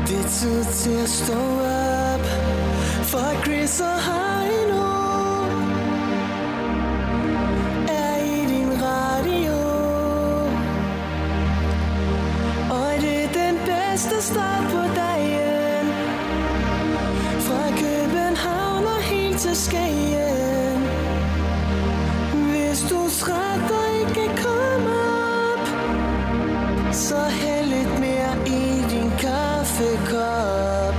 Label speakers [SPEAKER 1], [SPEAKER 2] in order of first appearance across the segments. [SPEAKER 1] altid til at stå op For Chris og Heino Er i din radio Og det er den bedste start på dagen Fra København og helt til Skagen Hvis du er træt og ikke kan komme op Så hæld lidt mere i din kaffekop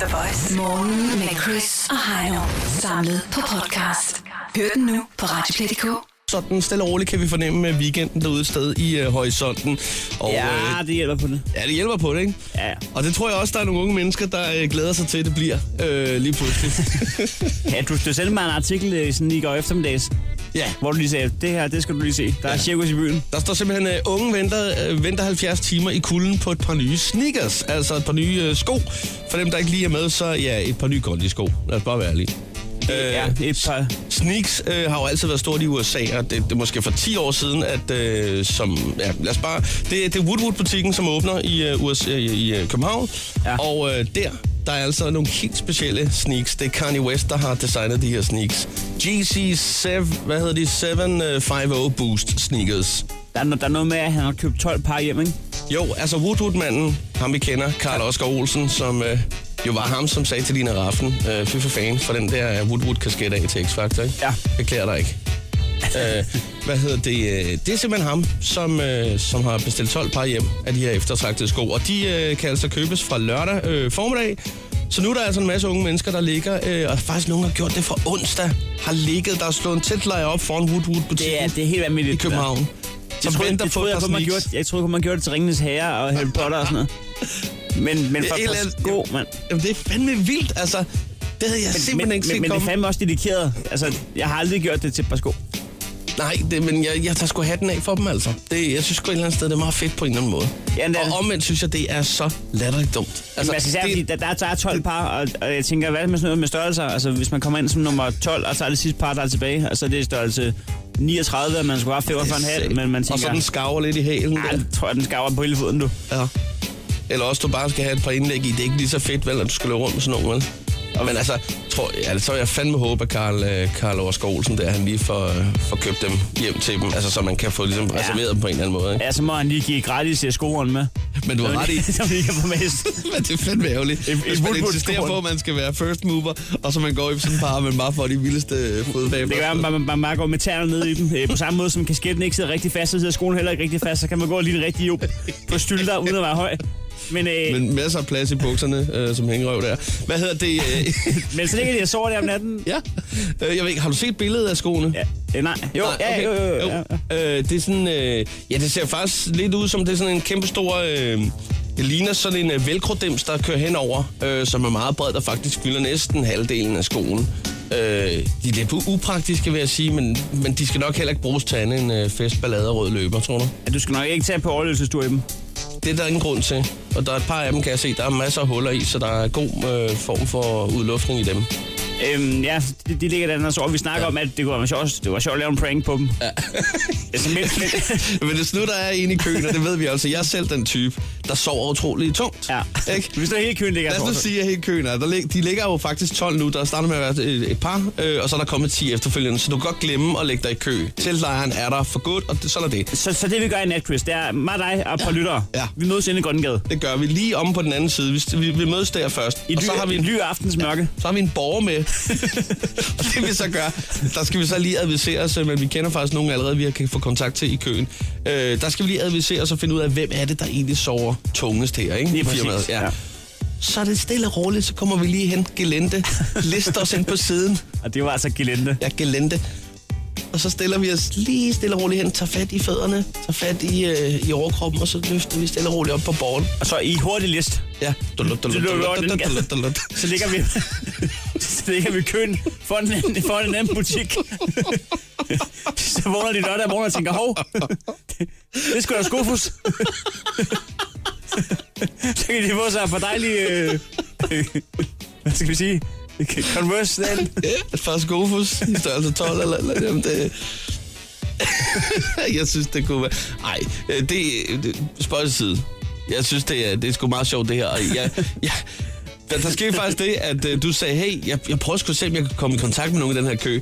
[SPEAKER 2] The Voice. Morgen med Chris og Heino. Samlet på podcast. Hør den nu på Radioplay.dk.
[SPEAKER 3] Sådan stille og roligt kan vi fornemme øh, weekenden derude et sted i øh, horisonten. Og,
[SPEAKER 4] Ja,
[SPEAKER 3] øh,
[SPEAKER 4] det hjælper på det.
[SPEAKER 3] ja, det hjælper på det, ikke?
[SPEAKER 4] Ja, ja.
[SPEAKER 3] Og det tror jeg også, der er nogle unge mennesker, der øh, glæder sig til, at det bliver øh, lige pludselig.
[SPEAKER 4] ja du, du sendte mig en artikel øh, sådan i går eftermiddags,
[SPEAKER 3] ja,
[SPEAKER 4] hvor du lige sagde, det her, det skal du lige se. Der er
[SPEAKER 3] Ja.
[SPEAKER 4] cirkus i byen.
[SPEAKER 3] der står simpelthen, at øh, unge venter, øh, venter 70 timer i kulden på et par nye sneakers. Altså et par nye øh, sko. For dem, der ikke lige er med, så ja, et par nye goldige sko. Lad os bare være ærlige. Øh,
[SPEAKER 4] Ja, et par...
[SPEAKER 3] Sneaks øh, har jo altid været stort i USA, og det, det er måske for 10 år siden, at øh, som, ja, lad os bare, det, det er Woodwood-butikken, som åbner i, øh, USA, i, i øh, København, ja.
[SPEAKER 4] Ja.
[SPEAKER 3] og øh, der, der er altså nogle helt specielle sneaks. Det er Kanye West, der har designet de her sneaks. GC 7, hvad hedder de? 750 Boost sneakers.
[SPEAKER 4] Der er, no- der er noget med, at han har købt 12 par hjem, ikke?
[SPEAKER 3] Jo, altså Woodwood-manden, ham vi kender, Karl Oskar Olsen, som øh, jo var ham, som sagde til Lina Raffen, øh, fy for fan, for den der Woodwood-kasket af til X-Factor, ikke?
[SPEAKER 4] Ja.
[SPEAKER 3] Beklager dig ikke. øh, hvad hedder det? øh, Det er simpelthen ham, som, øh, som har bestilt 12 par hjem af de her eftertragtede sko, og de øh, kan altså købes fra lørdag øh, formiddag. Så nu er der altså en masse unge mennesker, der ligger, øh, og faktisk nogen har gjort det fra onsdag, har ligget, der er slået en tætleje op foran Woodwood-butikken
[SPEAKER 4] Det er, det er helt
[SPEAKER 3] i
[SPEAKER 4] vanvittigt. det der.
[SPEAKER 3] København. Som
[SPEAKER 4] Jeg troede,
[SPEAKER 3] venter
[SPEAKER 4] jeg,
[SPEAKER 3] på
[SPEAKER 4] troede,
[SPEAKER 3] et
[SPEAKER 4] jeg,
[SPEAKER 3] par
[SPEAKER 4] kun, man
[SPEAKER 3] sneaks.
[SPEAKER 4] gjorde, jeg troede kun, man gjorde det til Ringenes Herre og Harry Potter og sådan noget. Men, men for
[SPEAKER 3] et
[SPEAKER 4] et
[SPEAKER 3] eller
[SPEAKER 4] par
[SPEAKER 3] andet-
[SPEAKER 4] sko, mand.
[SPEAKER 3] Jamen, det er fandme vildt, altså. Det havde jeg men, simpelthen
[SPEAKER 4] Men,
[SPEAKER 3] ikke
[SPEAKER 4] men,
[SPEAKER 3] set
[SPEAKER 4] men det er
[SPEAKER 3] komme.
[SPEAKER 4] fandme også dedikeret. Altså, jeg har aldrig gjort det til et par sko.
[SPEAKER 3] Nej, det, men jeg, jeg tager sgu hatten af for dem, altså. Det, jeg synes sgu et eller andet sted, det er meget fedt på en eller anden måde.
[SPEAKER 4] Ja, det er
[SPEAKER 3] og
[SPEAKER 4] det.
[SPEAKER 3] omvendt synes jeg, det er så latterligt dumt.
[SPEAKER 4] Altså, man skal især, fordi
[SPEAKER 3] det,
[SPEAKER 4] der, der, der er 12 par, og, og jeg tænker, hvad er det med sådan noget med størrelser? Altså, hvis man kommer ind som nummer 12, og så er det sidste par, der er tilbage, og så er det størrelse 39, og man skulle have 45 en halv, men man
[SPEAKER 3] Og så
[SPEAKER 4] tænker,
[SPEAKER 3] den skarver lidt i hælen.
[SPEAKER 4] "Ej,
[SPEAKER 3] der.
[SPEAKER 4] det tror jeg, den skaver på hele foden, du.
[SPEAKER 3] Ja. Eller også, du bare skal have et par indlæg i. Det er ikke lige så fedt, vel, at du skal løbe rundt med sådan nogen, vel? Og, men altså, tror, ja, så vil jeg fandme håbe, at Karl, øh, Karl Overskov Olsen der, han lige får, øh, får købt dem hjem til dem, altså så man kan få ligesom, reserveret dem på en eller anden måde. Ikke?
[SPEAKER 4] Ja, så må han lige give gratis øh, skoeren med.
[SPEAKER 3] Men du har ret i,
[SPEAKER 4] Som vi kan få mest.
[SPEAKER 3] Men det er fandme ærgerligt.
[SPEAKER 4] Et- et
[SPEAKER 3] Hvis man
[SPEAKER 4] Woodward
[SPEAKER 3] insisterer
[SPEAKER 4] scorer.
[SPEAKER 3] på, at man skal være first mover, og så man går i sådan et par, men bare får de vildeste øh, fodvaber.
[SPEAKER 4] Det kan være, at man- man, man bare går med tæerne ned i dem. Øh, På samme måde som kasketten ikke sidder rigtig fast, så sidder skoen heller ikke rigtig fast. Så kan man gå lige en rigtig job på stylter, uden at være høj. Men, øh, men,
[SPEAKER 3] Men masser af plads i bukserne, øh, som hængerøv der. Hvad hedder det? Øh,
[SPEAKER 4] men så ligger de og sover der om natten.
[SPEAKER 3] ja. Øh, jeg ved ikke, har du set billedet af skoene?
[SPEAKER 4] Ja, øh, nej. Jo,
[SPEAKER 3] Nej,
[SPEAKER 4] ja,
[SPEAKER 3] okay.
[SPEAKER 4] jo, jo, jo. ja, ja.
[SPEAKER 3] Øh, det er sådan, øh, ja, det ser faktisk lidt ud som, det er sådan en kæmpe stor... Øh, det ligner sådan en øh, velcro-dims, der kører henover, øh, som er meget bred, der faktisk fylder næsten halvdelen af skoen. Øh, de er lidt upraktiske, vil jeg sige, men, men de skal nok heller ikke bruges til andet end øh, fest, ballade og rød løber, tror du?
[SPEAKER 4] Ja, Du skal nok ikke tage på overlevelsestur i dem.
[SPEAKER 3] Det er der ingen grund til. Og der er et par af dem, kan jeg se, der er masser af huller i, så der er god øh, form for udluftning i dem.
[SPEAKER 4] Øhm, ja, de, de ligger der, og så vi snakker ja. om, at det kunne være sjovt, det var sjovt at lave en prank på dem. Ja. altså, men, men,
[SPEAKER 3] Men hvis nu der er en i køen, og det ved vi altså, jeg er selv den type, der sover utrolig tungt.
[SPEAKER 4] ja.
[SPEAKER 3] Ikke?
[SPEAKER 4] Hvis der hele køen ligger
[SPEAKER 3] Lad os nu
[SPEAKER 4] sig.
[SPEAKER 3] sige, at hele køen er. Der lig, de ligger jo faktisk 12 nu. Der starter med at være et, et par, øh, og så er der kommet 10 efterfølgende. Så du kan godt glemme at lægge dig i kø. Teltlejren er der for godt, og det, så er der det.
[SPEAKER 4] Så, så det vi gør i nat, Chris, det er mig og dig og et par lyttere.
[SPEAKER 3] Ja.
[SPEAKER 4] Vi mødes inde i Grønnegade.
[SPEAKER 3] Det gør vi lige om på den anden side. Vi, vi, vi mødes der først.
[SPEAKER 4] I
[SPEAKER 3] og så
[SPEAKER 4] ly,
[SPEAKER 3] har vi
[SPEAKER 4] i
[SPEAKER 3] en
[SPEAKER 4] ly aftens mørke.
[SPEAKER 3] så har vi en borger med. og det vi så gør, der skal vi så lige advisere os, øh, men vi kender faktisk nogen allerede, vi kan få kontakt til i køen. Øh, der skal vi lige advisere os og finde ud af, hvem er det, der egentlig sover tungest her, ikke?
[SPEAKER 4] Lige
[SPEAKER 3] I
[SPEAKER 4] præcis,
[SPEAKER 3] firmaet,
[SPEAKER 4] ja.
[SPEAKER 3] Så er det stille og roligt, så kommer vi lige hen, gelente, lister os ind på siden,
[SPEAKER 4] Og det var altså gelente.
[SPEAKER 3] ja, gelente. Og så stiller vi os lige stille og roligt hen, tager fat i fødderne, tager fat i, øh, i overkroppen, og så løfter vi stille og roligt op på borgen.
[SPEAKER 4] Og så i hurtig list,
[SPEAKER 3] Ja. Dulut, dulut,
[SPEAKER 4] Dulut,
[SPEAKER 3] dulut, dulut, dulut, dulut.
[SPEAKER 4] så ligger vi, så ligger vi i køen for en, for en anden butik. så vågner de lørdag morgen og tænker, hov, det skulle da skufus. så kan de få sig for dejlige, øh, øh, hvad skal vi sige, Converse den.
[SPEAKER 3] Ja, først Gofus i størrelse 12 eller, eller jamen det... jeg synes, det kunne være... Ej, øh, det, det spøjs til side. Jeg synes, det er, det er sgu meget sjovt, det her. Og Jeg, jeg, der, der skete faktisk det, at øh, du sagde, hey, jeg, jeg prøver sgu at se, om jeg kan komme i kontakt med nogen i den her kø.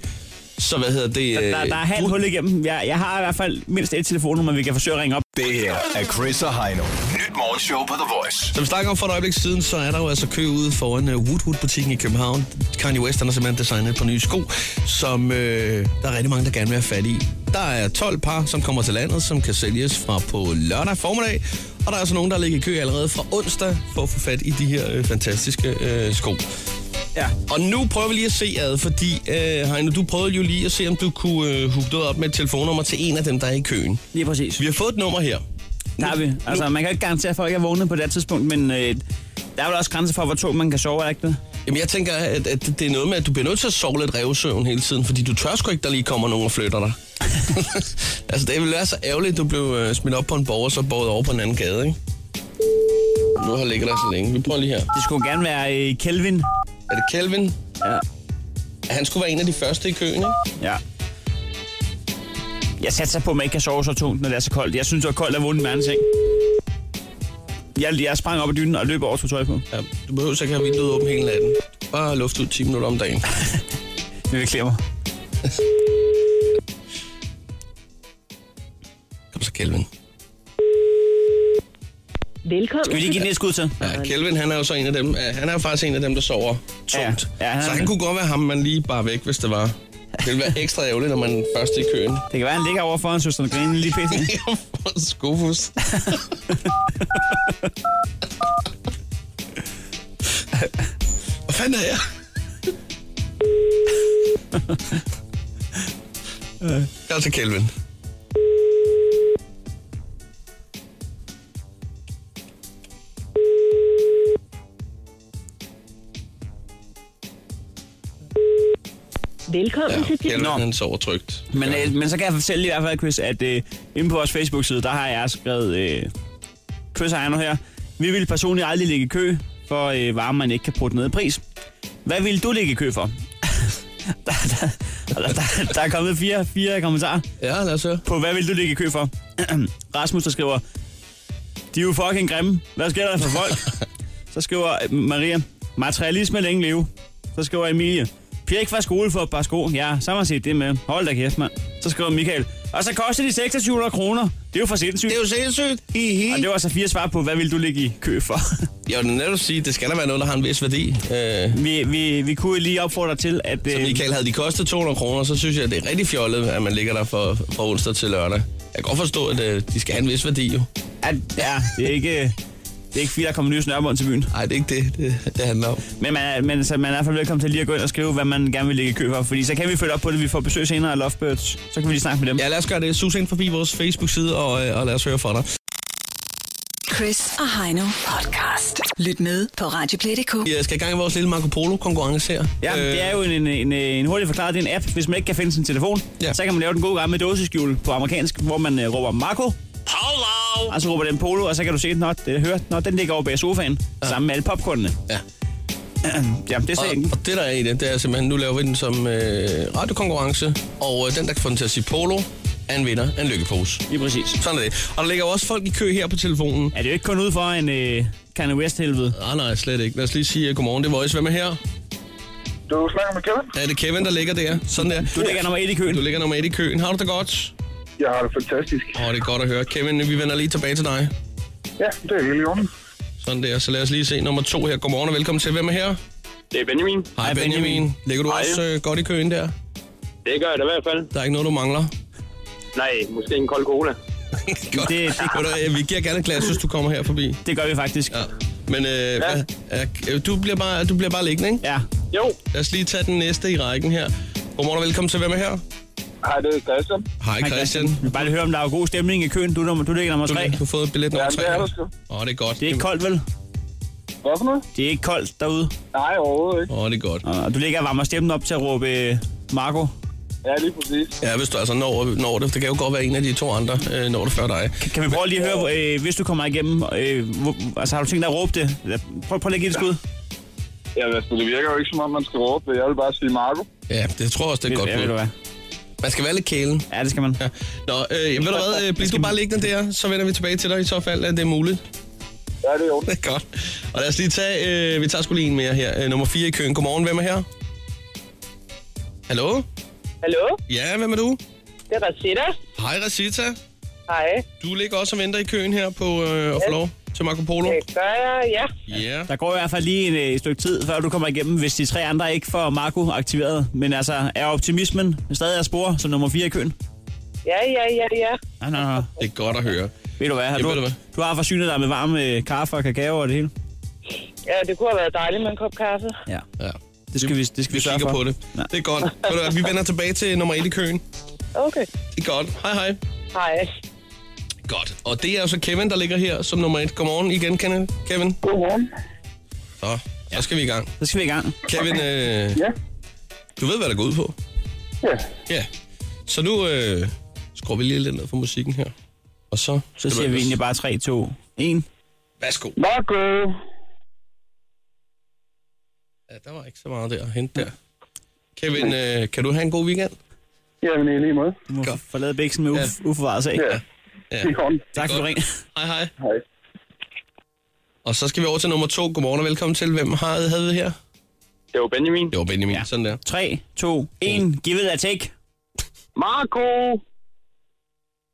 [SPEAKER 3] Så hvad hedder det?
[SPEAKER 4] Der, der, der er halvt hul igennem. Jeg, jeg har i hvert fald mindst et telefonnummer, vi kan forsøge at ringe op.
[SPEAKER 5] Det her er Chris og Heino. Nyt morgenshow på The Voice.
[SPEAKER 3] Som vi snakker om for et øjeblik siden, så er der jo altså kø ude foran øh, Woodwood-butikken i København. Kanye West han har simpelthen designet et par nye sko, som øh, der er rigtig mange, der gerne vil have fat i. Der er 12 par, som kommer til landet, som kan sælges fra på lørdag formiddag. Og der er altså nogen, der ligger i kø allerede fra onsdag for at få fat i de her øh, fantastiske øh, sko.
[SPEAKER 4] Ja.
[SPEAKER 3] Og nu prøver vi lige at se ad, fordi øh, Heino, du prøvede jo lige at se, om du kunne øh, hooke noget op med et telefonnummer til en af dem, der er i køen.
[SPEAKER 4] Lige præcis.
[SPEAKER 3] Vi har fået et nummer her.
[SPEAKER 4] Der er vi. Altså, man kan jo ikke garantere, at folk er vågne på det her tidspunkt, men øh, der er vel også grænser for, hvor to man kan sove, er der ikke det?
[SPEAKER 3] Jamen, jeg tænker, at, at det er noget med, at du bliver nødt til at sove lidt revsøvn hele tiden, fordi du tør sgu ikke, der lige kommer nogen og flytter dig. altså, det ville være så ærgerligt, at du blev øh, smidt op på en borg, og så båret over på en anden gade, ikke? Nu har ligget der så længe. Vi prøver lige her.
[SPEAKER 4] Det skulle gerne være øh, Kelvin.
[SPEAKER 3] Er det Kelvin?
[SPEAKER 4] Ja.
[SPEAKER 3] Han skulle være en af de første i køen, ikke?
[SPEAKER 4] Ja. Jeg satser på, at man ikke kan sove så tungt, når det er så koldt. Jeg synes, det var koldt at vågne med anden seng. Jeg, jeg sprang op af dynen og løb over og tog tøj på.
[SPEAKER 3] Ja, du behøver så ikke have vinduet åbent hele natten. Bare luft ud 10 minutter om dagen.
[SPEAKER 4] Det vil klæde mig.
[SPEAKER 3] Kom så, Kelvin.
[SPEAKER 6] Velkommen.
[SPEAKER 4] Skal vi lige give den et skud til?
[SPEAKER 3] Ja, Kelvin, han er jo så en af dem. ja, Han er jo faktisk en af dem, der sover tungt.
[SPEAKER 4] Ja, ja, han er
[SPEAKER 3] så han
[SPEAKER 4] det.
[SPEAKER 3] kunne godt være ham, man lige bare væk, hvis det var. Det ville være ekstra ærgerligt, når man er først i køen.
[SPEAKER 4] Det kan være, han ligger over foran søsteren og griner lige pisse.
[SPEAKER 3] Skofus. Hvad fanden er jeg? Jeg er til Kelvin.
[SPEAKER 6] Velkommen til
[SPEAKER 3] Kelvin,
[SPEAKER 4] Nå.
[SPEAKER 3] han sover trygt.
[SPEAKER 4] Men, øh, men så kan jeg fortælle i hvert fald, Chris, at øh, inde på vores Facebook-side, der har jeg skrevet, øh, Chris og Arno her, vi vil personligt aldrig ligge i kø for øh, varer, man ikke kan putte ned i pris. Hvad vil du ligge i kø for? der, der, der, der, der er kommet fire, fire kommentarer
[SPEAKER 3] Ja, lad os høre.
[SPEAKER 4] på, hvad vil du ligge i kø for? Rasmus, der skriver, de er jo fucking grimme. Hvad sker der for folk? så skriver øh, Maria, materialisme længe leve. Så skriver Emilie, Pjek fra skole for et par sko. Ja, så har man set det med. Hold da kæft, mand. Så skriver Michael, og så koster de 2600 kroner. Det er jo for sindssygt.
[SPEAKER 3] Det er jo sindssygt. Hihi.
[SPEAKER 4] Og det var altså fire svar på, hvad vil du ligge i kø for?
[SPEAKER 3] Jeg vil netop sige, det skal da være noget, der har en vis værdi. Øh,
[SPEAKER 4] vi, vi, vi kunne lige opfordre til, at...
[SPEAKER 3] så
[SPEAKER 4] øh,
[SPEAKER 3] Michael, havde de kostet 200 kroner, så synes jeg, det er rigtig fjollet, at man ligger der fra, fra onsdag til lørdag. Jeg kan godt forstå, at øh, de skal have en vis værdi jo.
[SPEAKER 4] at, ja, det er ikke... øh, Det er ikke fordi, der kommer nye snørbånd til byen.
[SPEAKER 3] Nej, det er ikke det, det, det handler om.
[SPEAKER 4] Men man, er- men så man er i hvert fald velkommen til lige at gå ind og skrive, hvad man gerne vil ligge i kø for. Fordi så kan vi følge op på det. Vi får besøg senere af Lovebirds. Så kan vi lige snakke med dem.
[SPEAKER 3] Ja, lad os gøre det. Sus ind forbi vores Facebook-side, og, øh, og lad os høre fra dig.
[SPEAKER 2] Chris og Heino podcast. Lyt med på Radioplay.dk.
[SPEAKER 3] Vi øh, skal i gang i vores lille Marco Polo-konkurrence her.
[SPEAKER 4] Ja, øh... det er jo en, en, en, øh, en hurtig forklaret, det er en app. Hvis man ikke kan finde sin telefon,
[SPEAKER 3] Ja.
[SPEAKER 4] ja. så kan man lave den gode gamle dåseskjul på amerikansk, hvor man øh, råber Marco. Polo! Og så råber den Polo, og så kan du se, når, det, høre, når den ligger over bag sofaen, ja. sammen med alle popcornene.
[SPEAKER 3] Ja.
[SPEAKER 4] Ja, det er sagen.
[SPEAKER 3] Og, og det, der er i det, det er simpelthen, nu laver vi den som øh, radiokonkurrence, og øh, den, der kan få den til at sige polo, er en vinder af en lykkepose.
[SPEAKER 4] Lige præcis.
[SPEAKER 3] Sådan er det. Og der ligger jo også folk i kø her på telefonen.
[SPEAKER 4] Er det jo ikke kun ud for en øh, Kanye West-helvede?
[SPEAKER 3] Nej, nej, slet ikke. Lad os lige sige uh, godmorgen. Det er Voice. Hvem er her?
[SPEAKER 7] Du snakker med Kevin.
[SPEAKER 3] Er det Kevin, der ligger der? Sådan der.
[SPEAKER 4] Du ligger nummer et i køen.
[SPEAKER 3] Du ligger nummer et i køen. Har du det godt?
[SPEAKER 7] Jeg har det fantastisk.
[SPEAKER 3] Åh, oh, det er godt at høre. Kevin, vi vender lige tilbage til dig.
[SPEAKER 7] Ja, det er helt i orden.
[SPEAKER 3] Sådan der. Så lad os lige se nummer to her. Godmorgen og velkommen til. Hvem er her?
[SPEAKER 8] Det er Benjamin.
[SPEAKER 3] Hej
[SPEAKER 4] Hej,
[SPEAKER 3] Benjamin.
[SPEAKER 4] Benjamin.
[SPEAKER 3] Ligger du Hej. også øh, godt i køen der?
[SPEAKER 8] Det gør jeg da i hvert fald.
[SPEAKER 3] Der er ikke noget, du mangler.
[SPEAKER 8] Nej, måske en kold cola.
[SPEAKER 3] godt.
[SPEAKER 4] det- det-
[SPEAKER 3] Ved du hvad, vi giver gerne et glas, hvis du kommer her forbi.
[SPEAKER 4] Det gør vi faktisk.
[SPEAKER 3] Ja. Men øh, ja. Hvad, øh, du, bliver bare, du bliver bare liggende, ikke?
[SPEAKER 4] ja.
[SPEAKER 8] Jo,
[SPEAKER 3] Lad os lige tage den næste i rækken her. Godmorgen og velkommen til. Hvem er her?
[SPEAKER 7] Hej, det er Christian.
[SPEAKER 3] Hej Christian.
[SPEAKER 4] Jeg vil Bare lige høre, om der er god stemning i køen. Du, er nummer, du ligger nummer
[SPEAKER 3] Du,
[SPEAKER 4] 3.
[SPEAKER 3] du har fået billet nummer
[SPEAKER 7] Jamen,
[SPEAKER 3] tre.
[SPEAKER 7] det er
[SPEAKER 3] her.
[SPEAKER 7] der sgu.
[SPEAKER 3] Åh, det er godt.
[SPEAKER 4] Det er ikke koldt, vel?
[SPEAKER 7] Hvad for noget?
[SPEAKER 4] Det er ikke koldt derude.
[SPEAKER 7] Nej, overhovedet ikke.
[SPEAKER 3] Åh, det er godt.
[SPEAKER 4] Og du ligger og varmer stemmen op til at råbe øh, Marco.
[SPEAKER 7] Ja, lige præcis.
[SPEAKER 3] Ja, hvis du altså når, når det. Det kan jo godt være en af de to andre, øh, når det før dig.
[SPEAKER 4] Kan vi prøve lige at høre, øh, hvis du kommer igennem, øh, hvor, altså har du tænkt dig at råbe det? Eller Prøv, prøv lige at give det et skud.
[SPEAKER 7] Jamen, altså, det virker jo ikke, som om man skal råbe det. Jeg vil bare sige Marco.
[SPEAKER 3] Ja, det tror jeg også, det er et godt.
[SPEAKER 4] ja, ved
[SPEAKER 3] bud.
[SPEAKER 4] du hvad?
[SPEAKER 3] Man skal være lidt kælen.
[SPEAKER 4] Ja, det skal man.
[SPEAKER 3] Ja. Nå, øh, jamen, ved du hvad, øh, bliv du bare liggende der, så vender vi tilbage til dig i så fald, at det er muligt.
[SPEAKER 7] Ja, det er jo.
[SPEAKER 3] Det er godt. Og lad os lige tage, øh, vi tager sgu lige en mere her. Øh, nummer 4 i køen. Godmorgen, hvem er her? Hallo?
[SPEAKER 6] Hallo,
[SPEAKER 3] Ja, hvem er du?
[SPEAKER 6] det er Rashida.
[SPEAKER 3] Hej, Rosita.
[SPEAKER 6] Hej.
[SPEAKER 3] Du ligger også og venter i køen her på øh, at få lov til Marco Polo.
[SPEAKER 6] Det gør jeg, ja.
[SPEAKER 3] Øh, Ja.
[SPEAKER 4] Der går i hvert fald lige en, øh, et stykke tid, før du kommer igennem, hvis de tre andre ikke får Marco aktiveret. Men altså, er optimismen stadig at spore som nummer 4 i køen?
[SPEAKER 6] Ja, ja, ja, ja.
[SPEAKER 4] Nej, nej, nej.
[SPEAKER 3] Det er godt at høre.
[SPEAKER 4] Ved du hvad? Har
[SPEAKER 3] Jeg
[SPEAKER 4] du,
[SPEAKER 3] ved det, hvad.
[SPEAKER 4] du har forsynet dig med varm øh, kaffe og kakao og det hele.
[SPEAKER 6] Ja, det kunne have været dejligt med en kop kaffe.
[SPEAKER 4] Ja.
[SPEAKER 3] Ja.
[SPEAKER 4] Det skal vi, det skal vi,
[SPEAKER 3] Vi
[SPEAKER 4] sørge
[SPEAKER 3] kigger
[SPEAKER 4] for.
[SPEAKER 3] på det.
[SPEAKER 4] Ja.
[SPEAKER 3] Det er godt. Ved du hvad, Vi vender tilbage til nummer 1 i køen.
[SPEAKER 6] Okay.
[SPEAKER 3] Det er godt. Hej, hej.
[SPEAKER 6] Hej.
[SPEAKER 3] Godt. Og det er altså Kevin, der ligger her som nummer 1. Godmorgen igen, Kenneth. Kevin.
[SPEAKER 7] Godmorgen.
[SPEAKER 3] Så, så skal vi i gang.
[SPEAKER 4] Så skal vi i gang.
[SPEAKER 3] Kevin, øh,
[SPEAKER 7] Ja.
[SPEAKER 3] du ved, hvad der går ud på.
[SPEAKER 7] Ja.
[SPEAKER 3] Ja. Så nu øh, skruer vi lige lidt ned for musikken her. Og så...
[SPEAKER 4] Så siger vi egentlig bare 3, 2, 1.
[SPEAKER 3] Værsgo.
[SPEAKER 7] Marco.
[SPEAKER 3] Ja, der var ikke så meget der at hente der. Kevin, øh, kan du have en god weekend?
[SPEAKER 7] Jamen, i lige måde.
[SPEAKER 4] Du må
[SPEAKER 3] Godt.
[SPEAKER 4] forlade bæksen med uf- uforvaret sag.
[SPEAKER 7] Ja.
[SPEAKER 3] Ja.
[SPEAKER 7] I hånden.
[SPEAKER 4] Tak for
[SPEAKER 3] Godt.
[SPEAKER 4] ringen.
[SPEAKER 3] Hej, hej.
[SPEAKER 7] Hej.
[SPEAKER 3] Og så skal vi over til nummer to. Godmorgen og velkommen til. Hvem har, havde vi her?
[SPEAKER 8] Det var Benjamin.
[SPEAKER 3] Det var Benjamin. Ja.
[SPEAKER 4] Ja.
[SPEAKER 3] Sådan der. Mm.
[SPEAKER 4] 3, 2, 1. Give it a take.
[SPEAKER 8] Marco!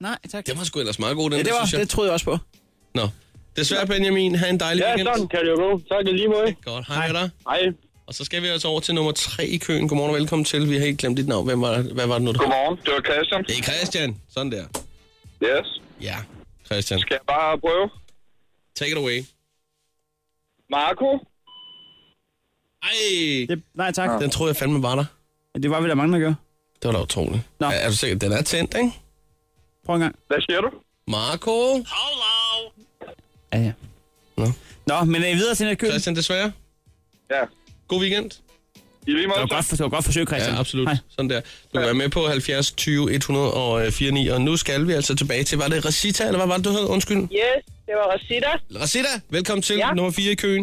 [SPEAKER 4] Nej, tak.
[SPEAKER 3] Den var sgu ellers meget god, den
[SPEAKER 4] Ja, det,
[SPEAKER 3] der,
[SPEAKER 4] var,
[SPEAKER 3] synes jeg.
[SPEAKER 4] det troede jeg også på.
[SPEAKER 3] Nå. Desværre, Benjamin. Ha' en dejlig
[SPEAKER 8] Ja,
[SPEAKER 3] weekend.
[SPEAKER 8] sådan kan det jo gå. Tak i lige måde.
[SPEAKER 3] Godt. Hej, hej. med dig.
[SPEAKER 8] Hej.
[SPEAKER 3] Og så skal vi altså over til nummer 3 i køen. Godmorgen og velkommen til. Vi har helt glemt dit navn. Hvem var, hvad var det nu, du
[SPEAKER 7] Godmorgen. Det var Christian.
[SPEAKER 3] Det er Christian. Sådan der.
[SPEAKER 7] Yes.
[SPEAKER 3] Ja, Christian.
[SPEAKER 7] Kan jeg bare prøve?
[SPEAKER 3] Take it away.
[SPEAKER 7] Marco.
[SPEAKER 3] Ej,
[SPEAKER 4] Det, nej, tak.
[SPEAKER 3] den troede jeg fandme var der.
[SPEAKER 4] Det var vi der mange, der gør.
[SPEAKER 3] Det var da utroligt.
[SPEAKER 4] Nå.
[SPEAKER 3] Er, er du sikker? Den er tændt, ikke?
[SPEAKER 4] Prøv en gang.
[SPEAKER 7] Hvad siger du?
[SPEAKER 3] Marco.
[SPEAKER 4] Ja, ja.
[SPEAKER 3] Nå.
[SPEAKER 4] Nå, men er I videre til den køl? Det
[SPEAKER 3] Christian, desværre.
[SPEAKER 7] Ja.
[SPEAKER 3] God weekend.
[SPEAKER 7] I lige måde.
[SPEAKER 4] var godt, for, det var godt forsøg, Christian.
[SPEAKER 3] Ja, absolut.
[SPEAKER 4] Hej.
[SPEAKER 3] Sådan der. Du kan være med på 70 20 149, og nu skal vi altså tilbage til, var det Resita, eller hvad var det, du hed? Undskyld.
[SPEAKER 6] Yes, det var Rashida.
[SPEAKER 3] Resita, velkommen til
[SPEAKER 6] Ja.
[SPEAKER 3] nummer 4 i køen.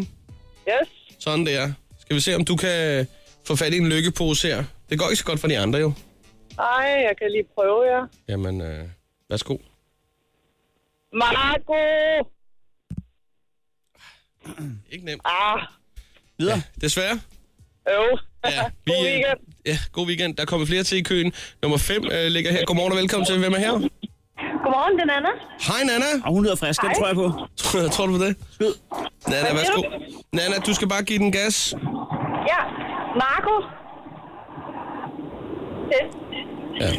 [SPEAKER 6] Yes.
[SPEAKER 3] Sådan der. Skal vi se, om du kan få fat i en lykkepose her. Det går ikke så godt for de andre jo.
[SPEAKER 6] Ej, jeg kan lige prøve jer.
[SPEAKER 3] Jamen, øh, værsgo.
[SPEAKER 6] Marco!
[SPEAKER 3] Ikke nemt.
[SPEAKER 6] Ah,
[SPEAKER 4] Videre.
[SPEAKER 3] Desværre.
[SPEAKER 6] øv.
[SPEAKER 3] Ja, vi,
[SPEAKER 6] God
[SPEAKER 3] øh,
[SPEAKER 6] weekend.
[SPEAKER 3] Ja, god weekend. Der kommer flere til i køen. Nummer 5 øh, ligger her. Godmorgen og velkommen til. Hvem er her?
[SPEAKER 9] Godmorgen, den Anna.
[SPEAKER 3] Hej, Nana.
[SPEAKER 4] Og hun lyder frisk, den tror jeg på.
[SPEAKER 3] Tror, tror du på det?
[SPEAKER 4] Skyd.
[SPEAKER 3] Nana, værsgo. Nana, du skal bare give den gas.
[SPEAKER 9] Ja, Marco. Det.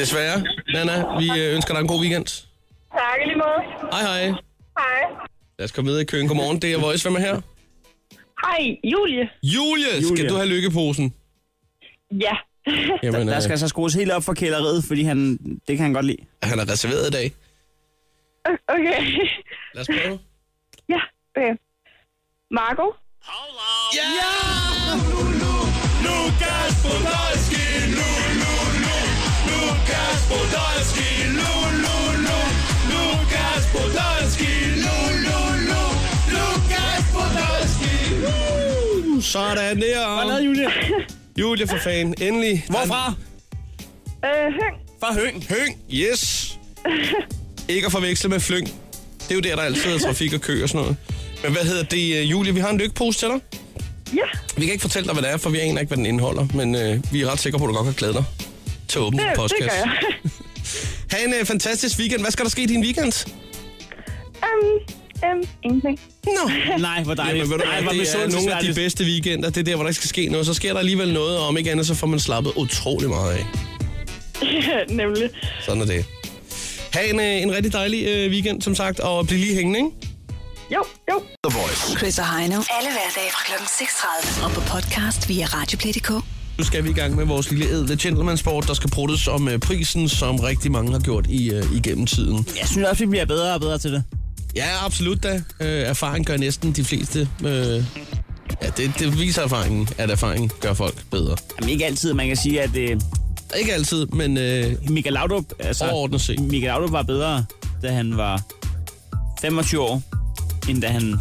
[SPEAKER 3] Desværre. Nana, vi øh, ønsker dig en god weekend.
[SPEAKER 9] Tak i lige måde.
[SPEAKER 3] Hej, hej.
[SPEAKER 9] Hej.
[SPEAKER 3] Lad os komme videre i køen. Godmorgen, det er Voice. Hvem er her?
[SPEAKER 9] Hej, Julie.
[SPEAKER 3] Julie, skal
[SPEAKER 4] Julie.
[SPEAKER 3] du have lykkeposen?
[SPEAKER 9] Ja.
[SPEAKER 3] Jamen,
[SPEAKER 4] Der
[SPEAKER 3] øh,
[SPEAKER 4] skal så skrues helt op for kæleriet, fordi han, det kan han godt lide.
[SPEAKER 3] han er reserveret i dag.
[SPEAKER 9] Okay.
[SPEAKER 3] Lad os prøve.
[SPEAKER 9] Ja, okay. Marco.
[SPEAKER 3] Ja! Sådan der.
[SPEAKER 4] Julie?
[SPEAKER 3] Julie for fan. Endelig.
[SPEAKER 4] Hvorfra?
[SPEAKER 9] Øh, Høng.
[SPEAKER 4] Fra Høng.
[SPEAKER 3] Høng, yes. Ikke at forveksle med flyng. Det er jo der, der altid er trafik og kø og sådan noget. Men hvad hedder det, øh, Julie? Vi har en lykkepose til dig.
[SPEAKER 9] Ja,
[SPEAKER 3] Vi kan ikke fortælle dig, hvad det er, for vi aner ikke, hvad den indeholder. Men øh, vi er ret sikre på, at du godt kan glæde dig til at åbne
[SPEAKER 9] det,
[SPEAKER 3] din
[SPEAKER 9] det gør
[SPEAKER 3] postkasse.
[SPEAKER 9] jeg.
[SPEAKER 3] Ha' en øh, fantastisk weekend. Hvad skal der ske i din weekend?
[SPEAKER 9] Øhm, øhm, ingenting.
[SPEAKER 3] Nå,
[SPEAKER 4] Nej,
[SPEAKER 3] Ej,
[SPEAKER 4] hvor dejligt.
[SPEAKER 3] men ved du,
[SPEAKER 4] Nej, hvor
[SPEAKER 3] hvad, det er nogle af de
[SPEAKER 4] misundelsesværdigt.
[SPEAKER 3] bedste weekender. Det er der, hvor der ikke skal ske noget. Så sker der alligevel noget, og om ikke andet, så får man slappet utrolig meget af.
[SPEAKER 9] Nemlig.
[SPEAKER 3] Sådan er det. Ha' en, øh, en rigtig dejlig øh, weekend, som sagt, og bliv lige hængende, ikke?
[SPEAKER 9] Jo, jo.
[SPEAKER 5] The Voice.
[SPEAKER 2] Chris og Heino. Alle hverdage fra kl. 6.30. Og på podcast via Radioplay.dk.
[SPEAKER 3] Nu skal vi i gang med vores lille ædle gentleman sport, der skal bruges om øh, prisen, som rigtig mange har gjort i, øh, igennem tiden.
[SPEAKER 4] Jeg synes også, vi bliver bedre og bedre til det.
[SPEAKER 3] Ja, absolut da. Øh, erfaring gør næsten de fleste... Øh, ja, det, det viser erfaringen, at erfaring gør folk bedre.
[SPEAKER 4] Jamen ikke altid, man kan sige, at øh,
[SPEAKER 3] Ikke altid, men øh,
[SPEAKER 4] Michael Laudrup, altså,
[SPEAKER 3] overordnet set.
[SPEAKER 4] Michael Laudrup var bedre, da han var 25 år. end da han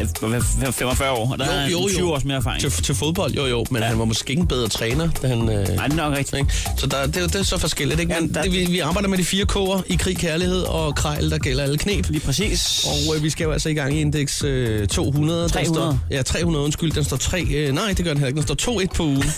[SPEAKER 4] øh, var 45 år. Og der havde han 20 års mere erfaring.
[SPEAKER 3] Til, til fodbold, jo jo, men ja. han var måske ikke en bedre træner, da han... Øh,
[SPEAKER 4] Nej, det er nok rigtigt.
[SPEAKER 3] ikke? Så der, det, er jo- det er så forskelligt, ikke? Men
[SPEAKER 4] Ja, der-
[SPEAKER 3] det, vi, vi arbejder med de fire K'er i krig, kærlighed og krejl, der gælder alle knep.
[SPEAKER 4] Lige præcis.
[SPEAKER 3] Og øh, vi skal jo altså i gang i indeks øh, 200.
[SPEAKER 4] 300.
[SPEAKER 3] Den står, ja, 300, undskyld. Den står 3... Øh, nej, det gør den heller ikke. Den står 2-1 på ugen.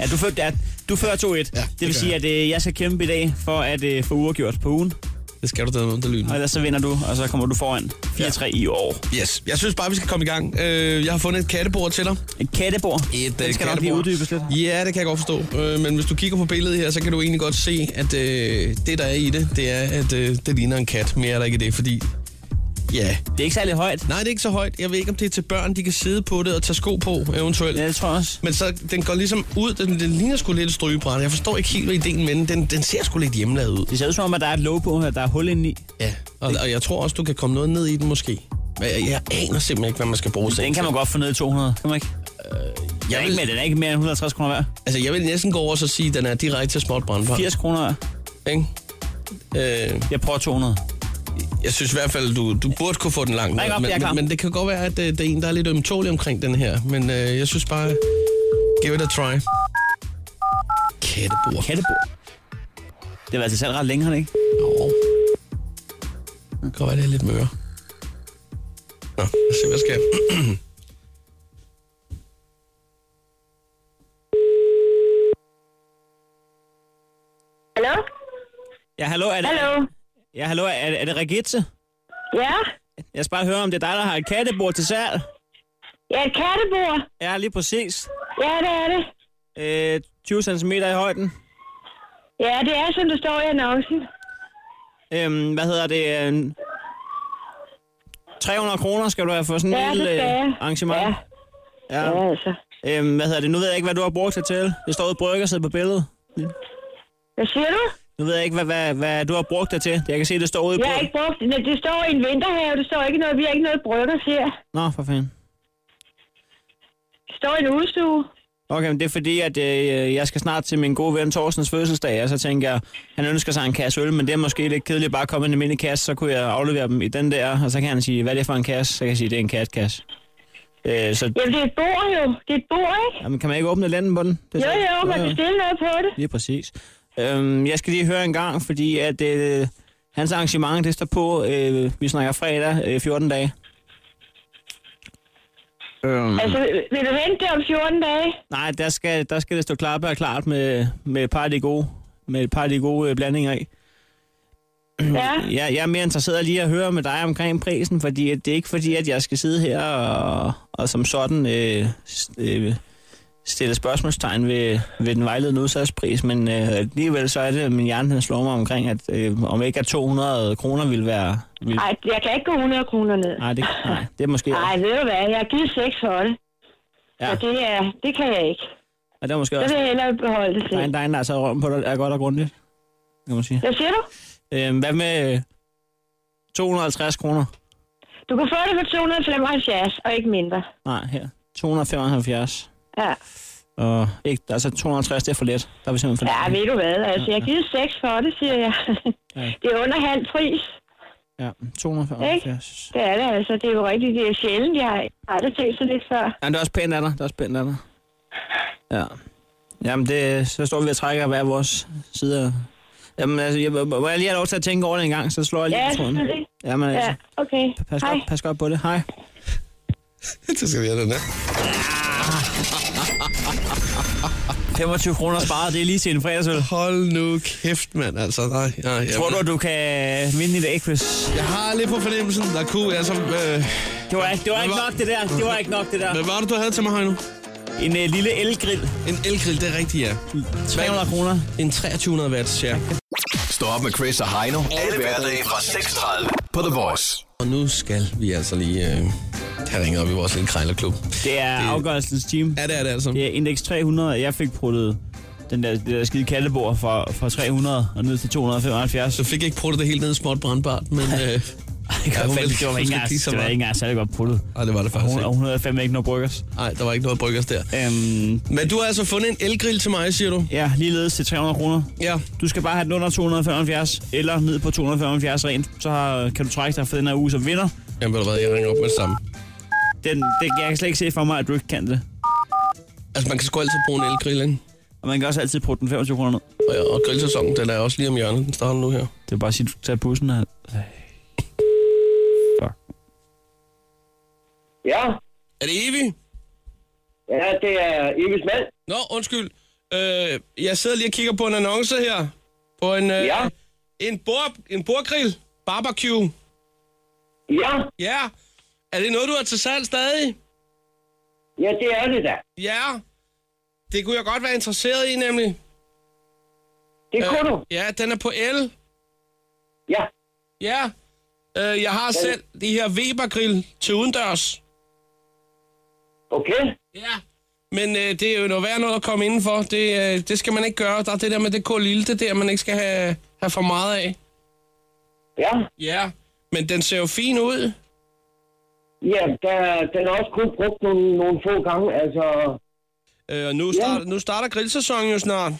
[SPEAKER 4] Ja, du fører, ja, du fører 2-1. Ja, det,
[SPEAKER 3] gør
[SPEAKER 4] vil sige, at øh, jeg skal kæmpe i dag for at øh, få uafgjort på ugen.
[SPEAKER 3] Det skal du da med, der lyder.
[SPEAKER 4] Og ellers så vinder du, og så kommer du foran 4-3 i år.
[SPEAKER 3] Yes. Jeg synes bare, vi skal komme i gang. Øh, jeg har fundet et kattebord til dig.
[SPEAKER 4] Et kattebord.
[SPEAKER 3] Et,
[SPEAKER 4] Den
[SPEAKER 3] øh,
[SPEAKER 4] skal nok lige
[SPEAKER 3] kattebord.
[SPEAKER 4] uddybes lidt.
[SPEAKER 3] Ja, det kan jeg godt forstå. Øh, men hvis du kigger på billedet her, så kan du egentlig godt se, at øh, det, der er i det, det er, at øh, det ligner en kat. Mere er der ikke i det, fordi... Ja.
[SPEAKER 4] Det er ikke særlig højt.
[SPEAKER 3] Nej, det er ikke så højt. Jeg ved ikke, om det er til børn, de kan sidde på det og tage sko på, eventuelt.
[SPEAKER 4] Ja, det tror jeg også.
[SPEAKER 3] Men så, den går ligesom ud. Den, den ligner sgu lidt et strygebræt. Jeg forstår ikke helt, hvad ideen med den. den. Den ser sgu lidt hjemmelavet ud.
[SPEAKER 4] Det ser ud som om, at der er et låg på her, der er hul indeni.
[SPEAKER 3] Ja. Og, og jeg tror også, du kan komme noget ned i den måske. Men Jeg, jeg aner simpelthen ikke, hvad man skal bruge
[SPEAKER 4] Den
[SPEAKER 3] sengen
[SPEAKER 4] kan man godt få ned i 200. Kan man ikke?
[SPEAKER 3] til.
[SPEAKER 4] Jeg
[SPEAKER 3] Jeg
[SPEAKER 4] er ikke med,
[SPEAKER 3] vil,
[SPEAKER 4] den er ikke mere end 160 kroner værd.
[SPEAKER 3] altså, jeg vil næsten gå over og så sige, at den er direkte til småt brandbar.
[SPEAKER 4] 80 kroner værd.
[SPEAKER 3] Ikke? Øh,
[SPEAKER 4] Jeg prøver 200.
[SPEAKER 3] jeg synes i hvert fald, du, du burde kunne få den langt.
[SPEAKER 4] Ring op, jeg er
[SPEAKER 3] men,
[SPEAKER 4] klar.
[SPEAKER 3] men, men det kan godt være, at øh, det er en, der er lidt ømtålig omkring den her. Men øh, jeg synes bare, give it a try. Kattebord.
[SPEAKER 4] Kattebord. Det var altså selv ret længe, har det ikke?
[SPEAKER 3] Åh. Det kan godt være, det er lidt møre. Nå, lad os se, hvad der sker.
[SPEAKER 9] Hallo?
[SPEAKER 4] Ja, hallo, er det,
[SPEAKER 9] Hallo?
[SPEAKER 4] ja, hallo, er, er det Regitze?
[SPEAKER 9] Ja?
[SPEAKER 4] Jeg skal bare høre, om det er dig, der har et kattebord til salg.
[SPEAKER 9] Ja, et kattebord.
[SPEAKER 4] Ja, lige præcis.
[SPEAKER 9] Ja, det er det.
[SPEAKER 4] Øh, 20 cm i højden.
[SPEAKER 9] Ja, det er, som det står i annoncen.
[SPEAKER 4] Øhm, hvad hedder det? øhm, 300 kroner skal du have for sådan en
[SPEAKER 9] Ja, det
[SPEAKER 4] lille
[SPEAKER 9] skal
[SPEAKER 4] øh,
[SPEAKER 9] jeg.
[SPEAKER 4] arrangement. Ja. ja.
[SPEAKER 9] Ja, altså.
[SPEAKER 4] Øhm, hvad hedder det? Nu ved jeg ikke, hvad du har brugt det til. Det står ude i bryggerset på billedet.
[SPEAKER 9] Hvad siger du?
[SPEAKER 4] Nu ved jeg ikke, hvad, hvad, hvad du har brugt det til. Jeg kan se, det står ude i
[SPEAKER 9] Jeg har
[SPEAKER 4] bryggerset.
[SPEAKER 9] ikke brugt... Nej, det står i en vinterhave. Det står ikke noget... Vi har ikke noget bryggers her.
[SPEAKER 4] Nå, for fanden.
[SPEAKER 9] Det står i en udstue.
[SPEAKER 4] Okay, men det er fordi, at øh, jeg skal snart til min gode ven Torsens fødselsdag, og så tænker jeg, han ønsker sig en kasse øl, men det er måske lidt kedeligt bare at komme i en almindelig kasse, så kunne jeg aflevere dem i den der, og så kan han sige, hvad er det for en kasse? Så kan jeg sige, det er en katkasse. Øh, så
[SPEAKER 9] Jamen, det er et bord jo. Det er et bord, ikke?
[SPEAKER 4] jamen, kan man ikke åbne lænden på den? Det
[SPEAKER 9] Jo,
[SPEAKER 4] er-
[SPEAKER 9] jo, man kan stille noget på det.
[SPEAKER 4] Lige præcis. Øhm, jeg skal lige høre en gang, fordi at øh, hans arrangement, det står på, øh, vi snakker fredag, øh, 14 dage. Øhm,
[SPEAKER 9] Altså, vil du vente det om 14 dage?
[SPEAKER 4] nej, der skal, der skal det stå klart og klart med, med et par af de gode, med et par af de gode øh, blandinger i.
[SPEAKER 9] Ja.
[SPEAKER 4] Jeg, jeg er mere interesseret i lige at høre med dig omkring prisen, fordi at det er ikke fordi, at jeg skal sidde her og, og som sådan øh, s- øh, stille spørgsmålstegn ved, ved den vejledende udsatspris, men øh, alligevel så er det, at min hjerne den slår mig omkring, at øh, om ikke at 200 kroner vil være... Vil,
[SPEAKER 9] Nej, jeg kan ikke gå 100 kroner ned.
[SPEAKER 4] nej, det, nej, det er måske...
[SPEAKER 9] Nej, ved du hvad? Jeg har givet 6 for det.
[SPEAKER 4] ja,
[SPEAKER 9] Og det, er, det kan jeg ikke.
[SPEAKER 4] og det er måske
[SPEAKER 9] Så
[SPEAKER 4] også...
[SPEAKER 9] vil jeg hellere beholde det
[SPEAKER 4] Der er
[SPEAKER 9] selv.
[SPEAKER 4] en, der er en, der har taget røven på dig, er godt og grundigt, kan man sige.
[SPEAKER 9] Hvad siger du?
[SPEAKER 4] Øh, hvad med øh, 250 kroner?
[SPEAKER 9] Du kan få det for 275, og ikke mindre.
[SPEAKER 4] Nej, her. 275.
[SPEAKER 9] Ja,
[SPEAKER 4] Og ikke, altså 250, det er for let. Der er vi simpelthen for
[SPEAKER 9] ja
[SPEAKER 4] let.
[SPEAKER 9] ved du hvad? Altså, jeg har givet 6 for det, siger jeg. det er under halv pris.
[SPEAKER 4] Ja, 275.
[SPEAKER 9] Det er det altså. Det er jo rigtigt. Det er sjældent. Jeg har aldrig set så lidt før.
[SPEAKER 4] Ja, det er også pænt af dig. Det er også pænt af dig. Ja. Jamen, det, så står vi og trækker hver vores sider. Jamen, altså, jeg, må jeg lige have lov til at tænke over det en gang, så slår jeg lige
[SPEAKER 9] Ja,
[SPEAKER 4] på tråden.
[SPEAKER 9] selvfølgelig.
[SPEAKER 4] Jamen, altså,
[SPEAKER 9] Ja, okay.
[SPEAKER 4] pas,
[SPEAKER 9] Hej.
[SPEAKER 4] godt, pas godt på det. Hej.
[SPEAKER 3] så skal vi have den der.
[SPEAKER 4] 25 kroner sparet, det er lige til en fredagsøl.
[SPEAKER 3] Hold nu kæft, mand. Altså, nej, nej, jeg,
[SPEAKER 4] Tror du, at du kan vinde i dag, Chris?
[SPEAKER 3] jeg har lidt på fornemmelsen, der kunne... Altså, øh,
[SPEAKER 4] Det var, ikke- det var ikke nok, det der. Det var ikke nok, det der.
[SPEAKER 3] hvad var det, du havde til mig, Heino?
[SPEAKER 4] En øh, lille elgrill.
[SPEAKER 3] En elgrill, det er rigtigt, ja.
[SPEAKER 4] 300 kroner.
[SPEAKER 3] En 2300 watts, ja.
[SPEAKER 5] Stå op med Chris og Heino. Alle hverdage fra 6.30 på The Voice.
[SPEAKER 3] Og nu skal vi altså lige øh, have ringet op i vores lille krejlerklub.
[SPEAKER 4] Det er afgørelsens time.
[SPEAKER 3] Ja, det er det altså.
[SPEAKER 4] Det er indeks 300, og jeg fik pruttet den der, det der skide kaldebord fra, fra 300 og ned til 275.
[SPEAKER 3] Du fik ikke prøvet det helt ned i småt brandbart, men... Øh,
[SPEAKER 4] Det,
[SPEAKER 3] Ja,
[SPEAKER 4] ja,
[SPEAKER 3] hun
[SPEAKER 4] fandme,
[SPEAKER 3] ville-
[SPEAKER 4] det var
[SPEAKER 3] hun
[SPEAKER 4] ikke
[SPEAKER 3] skulle
[SPEAKER 4] engang,
[SPEAKER 3] kigge så
[SPEAKER 4] det var
[SPEAKER 3] meget.
[SPEAKER 4] ikke engang særlig godt puttet.
[SPEAKER 3] nej, det var det faktisk
[SPEAKER 4] Hun, og
[SPEAKER 3] ikke.
[SPEAKER 4] hun havde fandme ikke noget bryggers.
[SPEAKER 3] Nej, der var ikke noget bryggers der.
[SPEAKER 4] Øhm,
[SPEAKER 3] Men du har altså fundet en elgrill til mig, siger du?
[SPEAKER 4] ja, ligeledes til 300 kroner.
[SPEAKER 3] Ja.
[SPEAKER 4] Du skal bare have den under 275, eller ned på 275 rent. Så har, kan du trække dig for den her uge som vinder,
[SPEAKER 3] Jamen, ved du hvad, jeg ringer op med det samme.
[SPEAKER 4] Den, den, jeg kan slet ikke se for mig, at du ikke kan det.
[SPEAKER 3] Altså, man kan sgu altid bruge en elgrill, ikke?
[SPEAKER 4] Og man kan også altid putte den 25 kroner ned.
[SPEAKER 3] Og, og grillsæsonen, den er også lige om hjørnet. Den starter nu her.
[SPEAKER 4] Det er bare at sige, at du tager bussen her. Ej. Fuck.
[SPEAKER 8] Ja,
[SPEAKER 3] Er det Evi?
[SPEAKER 8] ja det er Evis mand.
[SPEAKER 3] Nå, undskyld. Øh, jeg sidder lige og kigger på en annonce her. På en, øh,
[SPEAKER 8] Ja.
[SPEAKER 3] en, bord, en bordgrill. Barbecue.
[SPEAKER 8] Ja,
[SPEAKER 3] Ja. Er det noget, du har til salg stadig?
[SPEAKER 8] ja det er det da.
[SPEAKER 3] Ja. Det kunne jeg godt være interesseret i, nemlig.
[SPEAKER 8] Det øh. kunne du.
[SPEAKER 3] Ja, den er på L.
[SPEAKER 8] Ja,
[SPEAKER 3] Ja. Øh, jeg har selv de her Weber-grill til udendørs.
[SPEAKER 8] okay.
[SPEAKER 3] Ja. Men øh, det er jo noget værd noget at komme indenfor. Det, øh, det skal man ikke gøre. Der er det der med det kulilde, det der, man ikke skal have, have for meget af.
[SPEAKER 8] Ja,
[SPEAKER 3] Ja. Men den ser jo fin ud.
[SPEAKER 8] ja der, den er også kun brugt nogle, nogle få gange. Altså,
[SPEAKER 3] Øh, og nu, starter, nu starter grillsæsonen jo snart.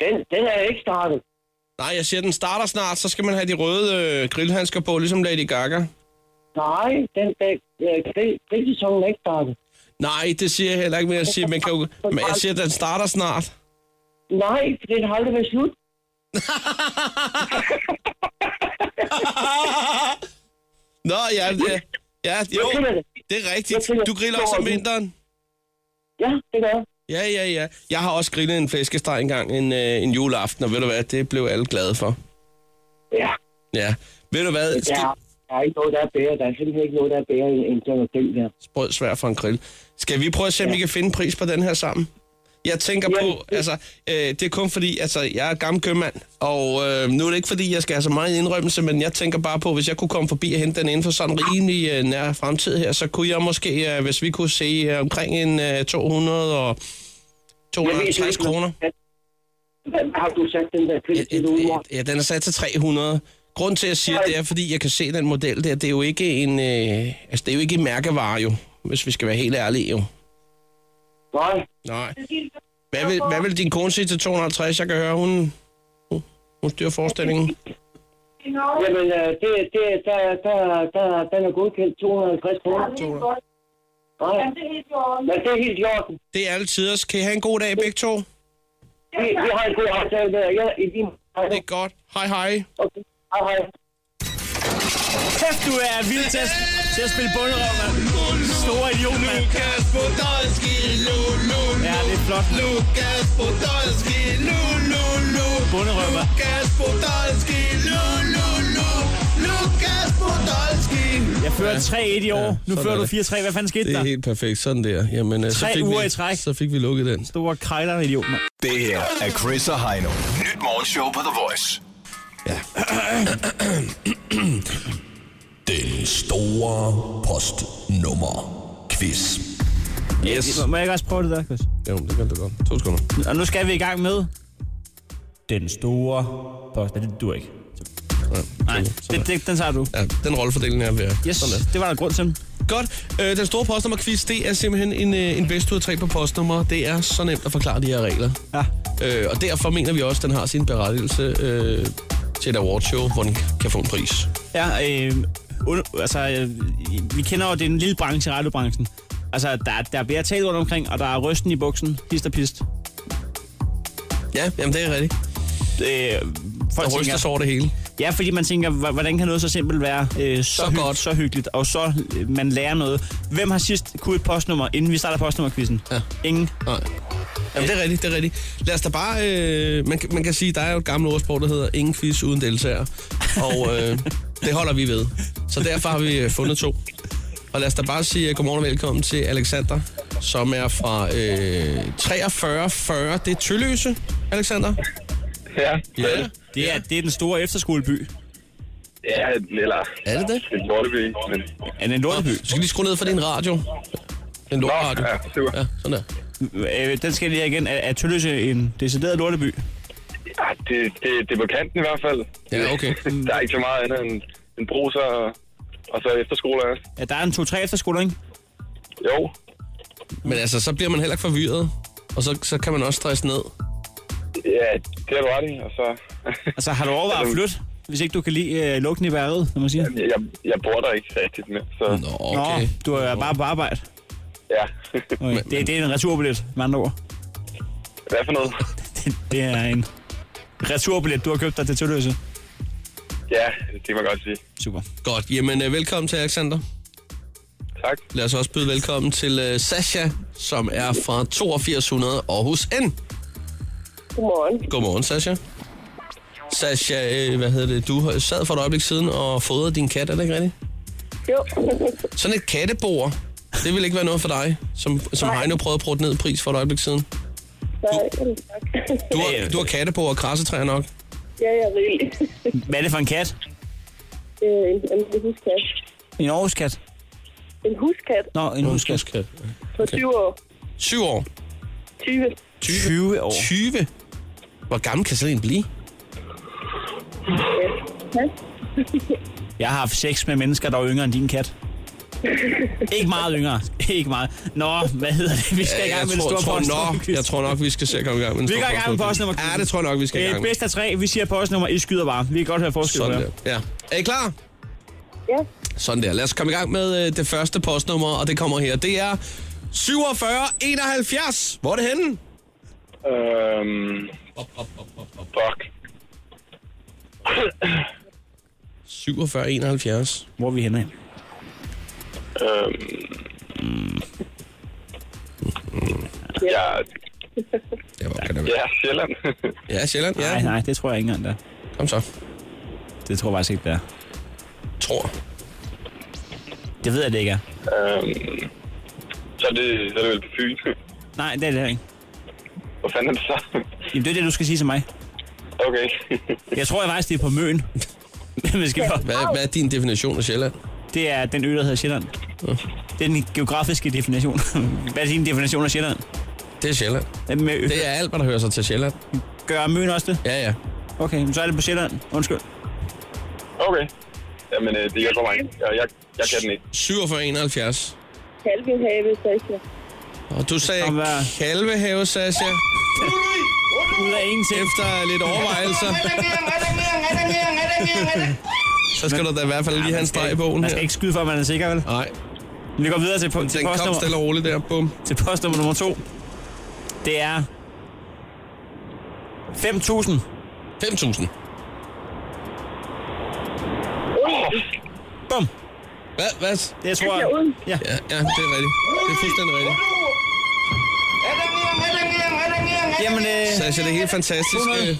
[SPEAKER 8] den, den er ikke startet.
[SPEAKER 3] Nej, jeg siger, den starter snart, så skal man have de røde øh, grillhandsker på, ligesom Lady Gaga.
[SPEAKER 8] Nej, den, den, øh, grill- grillsæsonen er ikke startet.
[SPEAKER 3] Nej, det siger jeg heller ikke, men jeg siger, man kan jo, men jeg siger den starter snart.
[SPEAKER 8] Nej, for den har aldrig været slut.
[SPEAKER 3] Nå, ja, ja, ja
[SPEAKER 8] Jeg
[SPEAKER 3] jo,
[SPEAKER 8] finder det.
[SPEAKER 3] det er rigtigt. Du griller også om vinteren.
[SPEAKER 8] Ja, det gør jeg.
[SPEAKER 3] Ja, ja, ja. Jeg har også grillet en flæskesteg engang en, øh, en juleaften, og ved du hvad, det blev alle glade for.
[SPEAKER 8] Ja,
[SPEAKER 3] Ja, ved du hvad,
[SPEAKER 8] der,
[SPEAKER 3] skal,
[SPEAKER 8] der er ikke noget, der er bedre. Der er simpelthen ikke noget, der er bedre end, end sådan en grill der.
[SPEAKER 3] brød svær for en grill. Skal vi prøve at se, om vi kan finde en pris på den her sammen? Jeg tænker
[SPEAKER 8] Ja,
[SPEAKER 3] på,
[SPEAKER 8] det-
[SPEAKER 3] altså, øh, det er kun fordi, altså, jeg er gammel købmand, og øh, nu er det ikke fordi, jeg skal have så meget indrømmelse, men jeg tænker bare på, hvis jeg kunne komme forbi og hente den inden for sådan rimelig øh, nær fremtid her, så kunne jeg måske, øh, hvis vi kunne se øh, omkring en øh, 200 og 250 kroner.
[SPEAKER 8] Har du sat den der grill til ude, mor?
[SPEAKER 3] Ja, den er sat til 300. Grunden til, at jeg siger det, er, fordi jeg kan se den model der. Det er jo ikke en, øh, altså, det er jo ikke en mærkevare, jo, hvis vi skal være helt ærlige, jo.
[SPEAKER 8] Nej,
[SPEAKER 3] Nej. Hvad vil, hvad vil din kone sige til 250? Jeg kan høre, hun, hun- hun styrer forestillingen.
[SPEAKER 8] jamen, øh, det, det, der, der, der, den er godkendt 250 kroner. Nej, men det er helt i orden.
[SPEAKER 3] Det er alle tiders. Kan I have en god dag, begge to?
[SPEAKER 8] Vi, vi har en god aftale der. Jeg er i din...
[SPEAKER 3] Det er godt. Hej, hej.
[SPEAKER 8] Okay, hej, hej.
[SPEAKER 4] Kæft, du er vild til at, til at spille bunderøv, mand. Store idiot, mand.
[SPEAKER 3] Lukas Podolski, Lulu,
[SPEAKER 4] Ja, det er flot.
[SPEAKER 3] Lukas Podolski, Lulu,
[SPEAKER 4] Bunderøv, mand.
[SPEAKER 3] Lukas Podolski, Lulu, Lukas Podolski.
[SPEAKER 4] Jeg fører 3-1 i år.
[SPEAKER 3] Ja,
[SPEAKER 4] nu
[SPEAKER 3] sådan
[SPEAKER 4] fører
[SPEAKER 3] er
[SPEAKER 4] du
[SPEAKER 3] det.
[SPEAKER 4] 4-3. Hvad fanden skete
[SPEAKER 3] Det
[SPEAKER 4] der?
[SPEAKER 3] er helt perfekt. Sådan der. Jamen, øh, så
[SPEAKER 4] Tre
[SPEAKER 3] fik
[SPEAKER 4] uger
[SPEAKER 3] vi,
[SPEAKER 4] i træk.
[SPEAKER 3] Så fik vi lukket den.
[SPEAKER 4] Store krejler, idiot, mand.
[SPEAKER 5] Det her er Chris og Heino. Nyt morgenshow på The Voice.
[SPEAKER 10] Den store postnummer quiz.
[SPEAKER 3] Yes.
[SPEAKER 4] Må jeg ikke også prøve det der, Chris?
[SPEAKER 3] Jo, det kan du godt. To sekunder.
[SPEAKER 4] Og nu skal vi i gang med... Den store post. Nej, det du ikke. Nej, det, det, den tager du.
[SPEAKER 3] Ja, den rollefordeling er ved at...
[SPEAKER 4] Yes,
[SPEAKER 3] Sådan der.
[SPEAKER 4] det var der grund til.
[SPEAKER 3] Godt. Øh, den store postnummerquiz, det er simpelthen en, øh, en bedst ud af tre på postnummer. Det er så nemt at forklare de her regler.
[SPEAKER 4] Ja.
[SPEAKER 3] Øh, og derfor mener vi også, at den har sin berettigelse øh, til et awardshow, hvor den kan få en pris.
[SPEAKER 4] Ja, øh, und, altså, øh, vi kender jo den lille branche, radiobranchen. Altså, der, der bliver talt rundt omkring, og der er rysten i buksen, hist og pist. Øh,
[SPEAKER 3] Ja, jamen det er rigtigt.
[SPEAKER 4] Øh, folk
[SPEAKER 3] Der ryster
[SPEAKER 4] tænker,
[SPEAKER 3] sig over det hele.
[SPEAKER 4] ja, fordi man tænker, "Hva- hvordan kan noget så simpelt være øh, så,
[SPEAKER 3] Så
[SPEAKER 4] hyggeligt,
[SPEAKER 3] godt."
[SPEAKER 4] så hyggeligt, og så øh, man lærer noget. Hvem har sidst kunne et postnummer, inden vi starter postnummerquizzen?
[SPEAKER 3] Ja.
[SPEAKER 4] Ingen.
[SPEAKER 3] Nej. Jamen det er rigtigt, det er rigtigt. Lad os da bare... Øh, man, kan- man kan sige, der er jo et gammelt ordsprog, der hedder ingen quiz uden deltager. Og øh, det holder vi ved. Så derfor har vi øh, fundet to. Og lad os da bare sige øh, godmorgen og velkommen til Alexander, som er fra øh, 4340. Det er Tølløse, Alexander.
[SPEAKER 7] Ja,
[SPEAKER 3] Ja,
[SPEAKER 7] det er det.
[SPEAKER 4] Det er, det er den store efterskoleby.
[SPEAKER 7] Ja, eller
[SPEAKER 3] er det det?
[SPEAKER 7] en lorteby, men...
[SPEAKER 4] Er det en lorteby?
[SPEAKER 3] Du skal lige skrue ned for din radio. Den lort radio.
[SPEAKER 7] ja, super.
[SPEAKER 3] Ja, sådan der.
[SPEAKER 4] Øh, den skal jeg lige have igen. Er, er Tølløse en decideret lorteby?
[SPEAKER 7] Ja, det, det, det er på kanten i hvert fald.
[SPEAKER 3] Ja, okay.
[SPEAKER 7] Der er ikke så meget andet end, end bruser og, og så efterskoler. også.
[SPEAKER 4] Ja, der er en 2-3 efterskoler, ikke?
[SPEAKER 7] Jo,
[SPEAKER 3] Men altså, så bliver man heller ikke forvirret. Og så, så kan man også stresse ned.
[SPEAKER 7] ja, det er du ret i, og så...
[SPEAKER 4] Altså, har du overvejet at flytte? hvis ikke du kan lide øh, lugten i vejret, når man siger.
[SPEAKER 7] Jamen, Jeg, jeg bor der ikke rigtigt med, så... Nå,
[SPEAKER 4] Nå, du er bare på arbejde.
[SPEAKER 7] Ja.
[SPEAKER 4] Okay. Det, det er en returbillet, med andre ord.
[SPEAKER 7] Hvad for noget?
[SPEAKER 4] Det, det er en returbillet, du har købt dig til Tølløse.
[SPEAKER 7] Ja, det kan man godt sige.
[SPEAKER 4] Super.
[SPEAKER 3] Godt. Jamen, øh, velkommen til Alexander.
[SPEAKER 7] Tak.
[SPEAKER 3] Lad os også byde velkommen til øh, Sasha, som er fra 8200 Aarhus N.
[SPEAKER 6] Godmorgen.
[SPEAKER 3] Godmorgen, Sasha. Sasha, øh, hvad hedder det? Du har- sad for et øjeblik siden og fodrede din kat, er det ikke rigtigt?
[SPEAKER 6] Jo.
[SPEAKER 3] Sådan et kattebord, det vil ikke være noget for dig, som, som Heino prøvede at prøve ned i pris for et øjeblik siden.
[SPEAKER 6] Nej, tak.
[SPEAKER 3] Du har, du har kattebord og krassetræer nok.
[SPEAKER 6] Ja, jeg er rigelig.
[SPEAKER 4] Hvad er det for en kat?
[SPEAKER 6] Det er Øh, en, en huskat.
[SPEAKER 4] En Aarhus-kat?
[SPEAKER 6] En huskat
[SPEAKER 4] Nå, en huskat.
[SPEAKER 3] Huskat.
[SPEAKER 6] på 20 år.
[SPEAKER 3] Syv år.
[SPEAKER 6] 20.
[SPEAKER 3] 20.
[SPEAKER 4] 20 år.
[SPEAKER 3] 20. Hvor gammel kan sådan en blive?
[SPEAKER 6] Ja.
[SPEAKER 4] Jeg har haft sex med mennesker, der er yngre end din kat. Ikke meget yngre. Ikke meget. Nå, hvad hedder det? Vi skal i gang med
[SPEAKER 3] jeg,
[SPEAKER 4] det
[SPEAKER 3] tror,
[SPEAKER 4] store
[SPEAKER 3] tror,
[SPEAKER 4] postnummer.
[SPEAKER 3] nok, jeg tror nok, vi skal se at komme i gang med den
[SPEAKER 4] Vi
[SPEAKER 3] store
[SPEAKER 4] går i gang med postnummer.
[SPEAKER 3] Ja, det tror jeg nok, vi skal i
[SPEAKER 4] Det er
[SPEAKER 3] gang
[SPEAKER 4] et
[SPEAKER 3] med.
[SPEAKER 4] bedst af tre. Vi siger postnummer. I skyder bare. Vi kan godt høre forskel på
[SPEAKER 3] Sådan
[SPEAKER 4] det.
[SPEAKER 3] der. Ja. Er I klar?
[SPEAKER 6] Ja.
[SPEAKER 3] Sådan der. Lad os komme i gang med øh, det første postnummer, og det kommer her. Det er 4771. Hvor er det henne?
[SPEAKER 7] Øhm... Fuck.
[SPEAKER 3] 4771.
[SPEAKER 4] Hvor er vi henne?
[SPEAKER 7] Øhm... Ja,
[SPEAKER 3] Det var, kan det være.
[SPEAKER 7] ja, Sjælland.
[SPEAKER 3] Ja, Sjælland.
[SPEAKER 4] Nej,
[SPEAKER 3] Ja.
[SPEAKER 4] nej, det tror jeg ikke engang, der.
[SPEAKER 3] Kom så.
[SPEAKER 4] Det tror jeg faktisk ikke, der.
[SPEAKER 3] Tror.
[SPEAKER 4] Det ved jeg, det ikke er.
[SPEAKER 7] øhm... Så er det, så er det vel på Fyn.
[SPEAKER 4] Nej, det er det her ikke.
[SPEAKER 7] Hvor fanden er det så?
[SPEAKER 4] Jamen, det er det, du skal sige til mig.
[SPEAKER 7] Okay.
[SPEAKER 4] Jeg tror jeg faktisk, det er på Møn. Men skal vi-
[SPEAKER 3] Hvad, hvad er din definition af Sjælland?
[SPEAKER 4] det er den ø, der hedder Sjælland. Det er den geografiske definition. Hvad er din definition af Sjælland?
[SPEAKER 3] Det er Sjælland.
[SPEAKER 4] Med ø.
[SPEAKER 3] Det er alt, hvad der hører sig til Sjælland.
[SPEAKER 4] Gør Møn også det?
[SPEAKER 3] Ja, ja.
[SPEAKER 4] Okay, men så er det på Sjælland. Undskyld.
[SPEAKER 7] Okay. Jamen, øh, det hjælper mig. Jeg, jeg, jeg kan den ikke.
[SPEAKER 3] 4771.
[SPEAKER 6] Kalvehave, Sasha.
[SPEAKER 3] Og du sagde
[SPEAKER 4] Kom, hvad?
[SPEAKER 3] Kalvehave, Sasha,
[SPEAKER 4] Ud af ingenting.
[SPEAKER 3] efter lidt overvejelser. Så skal du da i hvert fald lige have en streg i bogen
[SPEAKER 4] Man skal
[SPEAKER 3] her.
[SPEAKER 4] ikke skyde, for at man er sikker, vel?
[SPEAKER 3] Nej,
[SPEAKER 4] Vi går videre til, po- til,
[SPEAKER 3] den kom
[SPEAKER 4] postnummer,
[SPEAKER 3] stille og roligt der. Bum.
[SPEAKER 4] til postnummer nummer to. Det er... 5.000.
[SPEAKER 3] 5.000.
[SPEAKER 4] Bum.
[SPEAKER 3] Hvad? Hvad?
[SPEAKER 4] Det tror
[SPEAKER 6] Ja, uden.
[SPEAKER 4] jeg... Ja.
[SPEAKER 3] Ja, ja, det er rigtigt. Det er fuldstændig rigtigt.
[SPEAKER 4] Jamen, øh,
[SPEAKER 3] Sasha, det er helt fantastisk.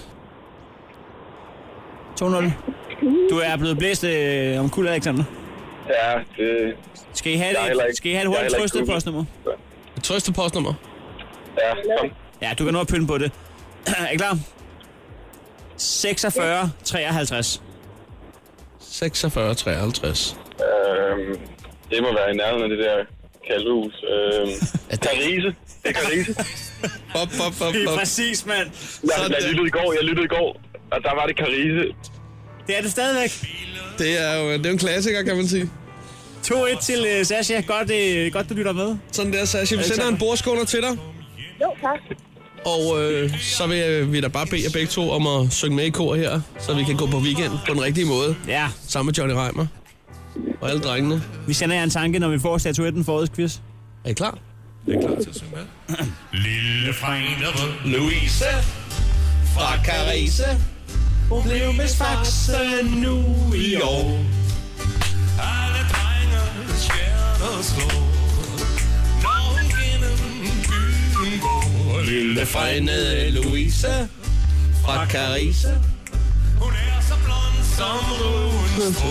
[SPEAKER 4] 200.
[SPEAKER 3] øh,
[SPEAKER 4] 2-0. Du er blevet blæst øh, om kul, Alexander.
[SPEAKER 7] Ja, det...
[SPEAKER 4] Skal I have
[SPEAKER 7] Jeg er heller
[SPEAKER 4] det,
[SPEAKER 7] ikke-
[SPEAKER 4] skal I have
[SPEAKER 7] jeg er
[SPEAKER 4] det hurtigt
[SPEAKER 7] heller ikke
[SPEAKER 4] trøstet
[SPEAKER 7] gruppen.
[SPEAKER 4] postnummer?
[SPEAKER 3] Et trøste postnummer.
[SPEAKER 7] Ja, kom.
[SPEAKER 4] Ja, du kan nå at pynte på det. er I klar? 46, 53.
[SPEAKER 3] 46, 53.
[SPEAKER 7] Øhm, det må være i nærheden af det der kalvehus. Øhm, Carise. Det er Carise.
[SPEAKER 3] Bop, bop, bop,
[SPEAKER 4] Det er
[SPEAKER 3] bop.
[SPEAKER 4] præcis, mand.
[SPEAKER 7] Jeg,
[SPEAKER 3] Sådan.
[SPEAKER 7] jeg lyttede i går, jeg lyttede i går, og der var det Carise.
[SPEAKER 4] Det er det stadigvæk.
[SPEAKER 3] Det er jo det er jo en klassiker, kan man sige.
[SPEAKER 4] 2-1 til øh, Sasha. Godt, øh, godt, du lytter med.
[SPEAKER 3] Sådan der, Sasha. Vi sender en bordskåner til dig.
[SPEAKER 6] Jo, tak.
[SPEAKER 3] Og øh, så vil øh, vi da bare bede jer begge to om at synge med i kor her, så vi kan gå på weekend på den rigtige måde.
[SPEAKER 4] Ja,
[SPEAKER 3] Sammen med Johnny Reimer og alle drengene.
[SPEAKER 4] vi sender jer en tanke, når vi får statuetten for årets quiz.
[SPEAKER 3] Er I klar?
[SPEAKER 10] Lille Frank Louise.
[SPEAKER 3] Fra Carise, hun blev med faxe nu i år.
[SPEAKER 10] Alle drenge skal slå. Når hun gennem byen går. Lille
[SPEAKER 3] Regnede Louise fra Carise.
[SPEAKER 10] Hun er så blond som roen strå.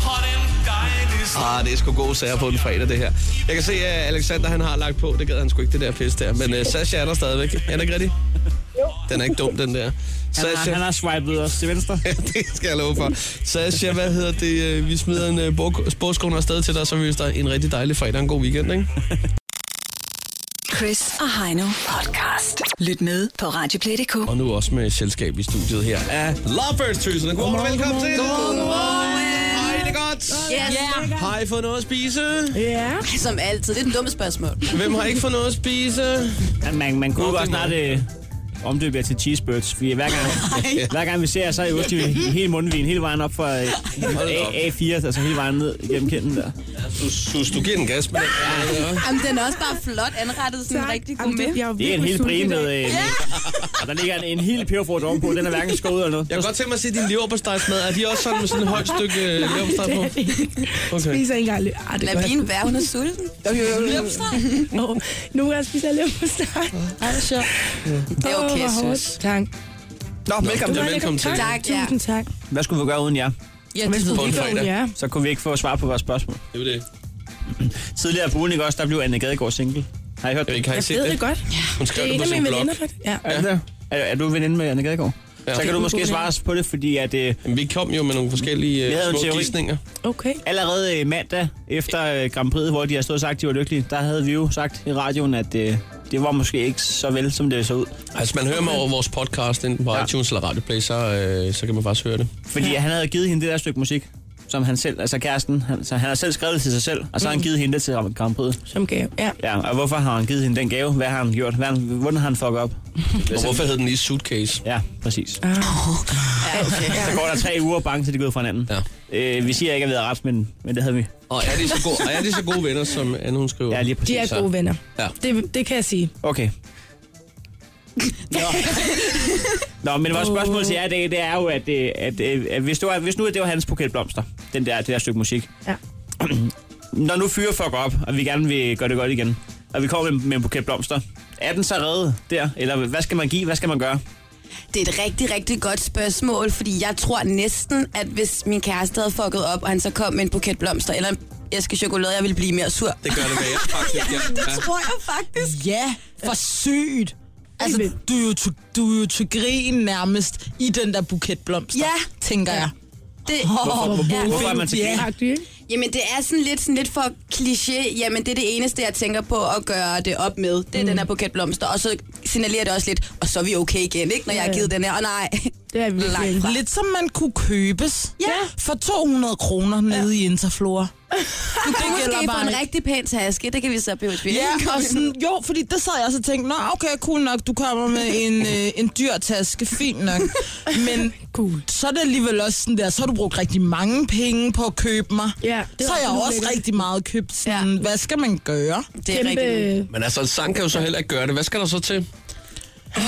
[SPEAKER 10] Har den dejligste
[SPEAKER 3] Ah, det er sgu gode sager på en fredag, det her. Jeg kan se, at Alexander han har lagt på. Det gad han sgu ikke, det der pis der. Men uh, Sasha er der stadigvæk. Er det ikke rigtigt? Den er ikke dum, den der.
[SPEAKER 4] Han har,
[SPEAKER 3] Sasha,
[SPEAKER 4] han har swipet os til venstre.
[SPEAKER 3] det skal jeg love for. Sasha, hvad hedder det? øh, Vi smider en uh, sportskone afsted til dig, så vi ønsker dig en rigtig dejlig fredag og en god weekend, ikke?
[SPEAKER 2] Chris og Heino podcast. Lyt med på Radioplay.dk.
[SPEAKER 3] Og nu også med selskab i studiet her af Lovebirds-tøserne. Godmorgen og velkommen til. Hej, det er godt.
[SPEAKER 11] Yes. Yeah.
[SPEAKER 3] Har I fået noget at spise?
[SPEAKER 11] Som altid. Det er den dumme spørgsmål.
[SPEAKER 3] Hvem har ikke fået noget at spise?
[SPEAKER 4] Ja, man, man kunne
[SPEAKER 3] Nå,
[SPEAKER 4] godt
[SPEAKER 3] det må
[SPEAKER 4] snart øh, omdøbe jer til cheesebirds, fordi hver gang, hver gang vi ser jer, så er I ost i hele mundvin, hele vejen op fra øh, A- A4, altså hele vejen ned igennem kinden der.
[SPEAKER 3] Sus, du giver den gas med.
[SPEAKER 12] Jamen, den er også bare flot anrettet, sådan en rigtig god med.
[SPEAKER 4] Det er en helt brimet, øh, og der ligger en, en hel peberfrugt ovenpå, den er hverken skåret eller noget.
[SPEAKER 3] Jeg kan godt tænke mig at se din leverpostejsmad. Er de også sådan med sådan et højt stykke øh, leverpostej på?
[SPEAKER 11] Det er det
[SPEAKER 3] Okay.
[SPEAKER 11] Spiser ikke engang løb. Ej, det
[SPEAKER 12] Lad
[SPEAKER 11] gør jeg
[SPEAKER 12] pigen
[SPEAKER 11] sgu.
[SPEAKER 12] være, hun er sulten.
[SPEAKER 11] Jo, jo, jo.
[SPEAKER 12] Leverpostej.
[SPEAKER 11] Nå, Nogle gange spiser jeg leverpostej. Ej, det er sjovt.
[SPEAKER 12] Det er
[SPEAKER 11] Åh,
[SPEAKER 12] okay,
[SPEAKER 11] hvor
[SPEAKER 12] jeg
[SPEAKER 11] hårdt.
[SPEAKER 12] synes.
[SPEAKER 11] Tak.
[SPEAKER 4] Nå, velkommen
[SPEAKER 11] Du
[SPEAKER 4] til.
[SPEAKER 11] var
[SPEAKER 4] Velkommen til.
[SPEAKER 11] Tak,
[SPEAKER 12] ja.
[SPEAKER 11] Tusind tak.
[SPEAKER 4] Hvad skulle vi gøre uden jer?
[SPEAKER 12] Ja, det ved
[SPEAKER 4] på en
[SPEAKER 12] jeg ikke.
[SPEAKER 4] fredag, så kunne vi ikke få svar på vores spørgsmål.
[SPEAKER 3] Det er det.
[SPEAKER 4] Tidligere på ugen, ikke også, der blev Anne Gadegaard single. Har I hørt det?
[SPEAKER 3] Ikke, har I
[SPEAKER 11] Jeg
[SPEAKER 3] set
[SPEAKER 11] ved det godt.
[SPEAKER 3] Hun skrev
[SPEAKER 11] Det er
[SPEAKER 3] det,
[SPEAKER 11] en
[SPEAKER 3] på
[SPEAKER 11] af
[SPEAKER 3] sin
[SPEAKER 11] mine
[SPEAKER 3] blog.
[SPEAKER 11] veninder, faktisk. Ja.
[SPEAKER 4] Er, det? er, er du veninde med Anne Gadegaard?
[SPEAKER 3] Ja.
[SPEAKER 4] Så kan du måske svare os på det, fordi at... Øh,
[SPEAKER 3] Vi kom jo med nogle forskellige
[SPEAKER 4] Vi havde
[SPEAKER 3] øh,
[SPEAKER 4] en
[SPEAKER 3] små
[SPEAKER 4] teori.
[SPEAKER 3] gidsninger.
[SPEAKER 11] Okay.
[SPEAKER 4] Allerede øh, mandag efter øh, Grand Prix, hvor de har stået og sagt, at de var lykkelige, der havde vi jo sagt i radioen, at øh, det var måske ikke så vel, som det så ud.
[SPEAKER 3] Altså, man hører mig over vores podcast, enten på iTunes eller Radio Play, så, øh, så kan man faktisk høre det.
[SPEAKER 4] Fordi han havde givet hende det der stykke musik, som han selv, altså kæresten, han, så han har selv skrevet det til sig selv, og så har han givet hende det til Grand Prix.
[SPEAKER 11] Mm. Som gave, ja.
[SPEAKER 4] Ja, og hvorfor har han givet hende den gave? Hvad har han gjort? Hvad, har han- hvordan har han fucket op?
[SPEAKER 3] Og hvorfor hed den lige Suitcase?
[SPEAKER 4] Ja, præcis.
[SPEAKER 11] Ah.
[SPEAKER 12] Ja, okay.
[SPEAKER 4] Så går der tre uger, og bange til de går ud fra hinanden. Ja. Øh, vi siger ikke, at vi havde ret, men, men det havde vi.
[SPEAKER 3] Og er de så gode, og er de så gode venner, som Anne hun skriver?
[SPEAKER 4] Ja, lige præcis.
[SPEAKER 11] De er gode venner.
[SPEAKER 3] Ja.
[SPEAKER 11] Det, det kan jeg sige.
[SPEAKER 4] Okay. Nå, men vores spørgsmål til jer i dag, det er jo, at, øh, at, øh, at hvis, du, hvis nu at det var hans buketblomster, den der, det der stykke musik.
[SPEAKER 11] Ja.
[SPEAKER 4] Når nu fyre fuck op, og vi gerne vil gøre det godt igen, og vi kommer med, med en buketblomster, er den så reddet der? Eller hvad skal man give? Hvad skal man gøre?
[SPEAKER 12] Det er et rigtig, rigtig godt spørgsmål, fordi jeg tror næsten, at hvis min kæreste havde fucket op, og han så kom med en buket blomster eller en æske chokolade, jeg ville blive mere sur.
[SPEAKER 3] Det gør det med jer, faktisk. Ja.
[SPEAKER 12] Det tror jeg faktisk.
[SPEAKER 13] Ja, for sygt. Altså, du er, jo til, du er jo til grin nærmest i den der buket blomster,
[SPEAKER 12] Ja.
[SPEAKER 13] tænker jeg.
[SPEAKER 12] Det,
[SPEAKER 13] Hvorfor- hvor-
[SPEAKER 12] Ja.
[SPEAKER 13] hvorfor er man til grin?
[SPEAKER 12] Jamen, det er sådan lidt, sådan lidt for kliché. Jamen, det er det eneste, jeg tænker på at gøre det op med. Det er mm. den her buket blomster. Og så signalerer det også lidt, og så er vi okay igen, ikke? Når jeg har givet den her. Og nej,
[SPEAKER 11] det er vi
[SPEAKER 12] langt fra.
[SPEAKER 13] Lidt som man kunne købes ja. for 200 kroner nede i Interflora.
[SPEAKER 12] Du kan
[SPEAKER 13] gælder
[SPEAKER 12] måske
[SPEAKER 13] bare
[SPEAKER 12] få en
[SPEAKER 13] ikke.
[SPEAKER 12] rigtig pæn taske. Det kan vi så blive et
[SPEAKER 13] Ja, og sådan, jo, fordi det sad jeg også og tænkte, nå okay, cool nok, du kommer med en, øh, en dyr taske, fint nok. Men cool. så er det alligevel også sådan der, så har du brugt rigtig mange penge på at købe mig.
[SPEAKER 11] Ja, det var
[SPEAKER 13] så har jeg
[SPEAKER 11] sådan
[SPEAKER 13] også
[SPEAKER 11] lidt.
[SPEAKER 13] rigtig meget købt. Sådan, ja. Hvad skal man gøre?
[SPEAKER 12] Det er rigtigt.
[SPEAKER 3] Men altså, en sang kan jo så heller ikke gøre det. Hvad skal der så til?
[SPEAKER 12] Oh,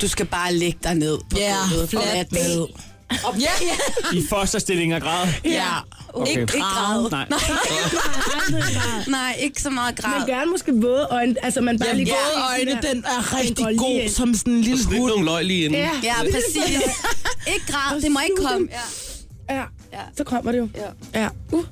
[SPEAKER 12] du skal bare lægge dig ned på
[SPEAKER 13] Ja,
[SPEAKER 12] gulvet.
[SPEAKER 13] fladt
[SPEAKER 12] og lade
[SPEAKER 13] ned.
[SPEAKER 12] det-
[SPEAKER 13] Op, ja, ja.
[SPEAKER 4] I fosterstilling og græd?
[SPEAKER 13] Ja.
[SPEAKER 4] Okay.
[SPEAKER 12] Ikke, ikke græd.
[SPEAKER 4] Nej.
[SPEAKER 12] Nej, ikke så meget græd.
[SPEAKER 11] Men gerne måske våde øjne. Altså, man bare
[SPEAKER 13] Ja,
[SPEAKER 11] lige går
[SPEAKER 13] våde
[SPEAKER 11] i
[SPEAKER 13] øjne,
[SPEAKER 11] sådan der-
[SPEAKER 13] den er rigtig
[SPEAKER 11] går lige
[SPEAKER 13] god
[SPEAKER 11] ind.
[SPEAKER 13] som sådan en lille
[SPEAKER 3] Lidt
[SPEAKER 13] hund.
[SPEAKER 3] nogle løg lige inden.
[SPEAKER 11] Ja.
[SPEAKER 12] Ja, præcis. Ikke græd, det må ikke komme. Ja.
[SPEAKER 11] Ja.
[SPEAKER 12] Ja.
[SPEAKER 11] Så kommer det jo.
[SPEAKER 12] Ja.
[SPEAKER 11] Ja. Uh.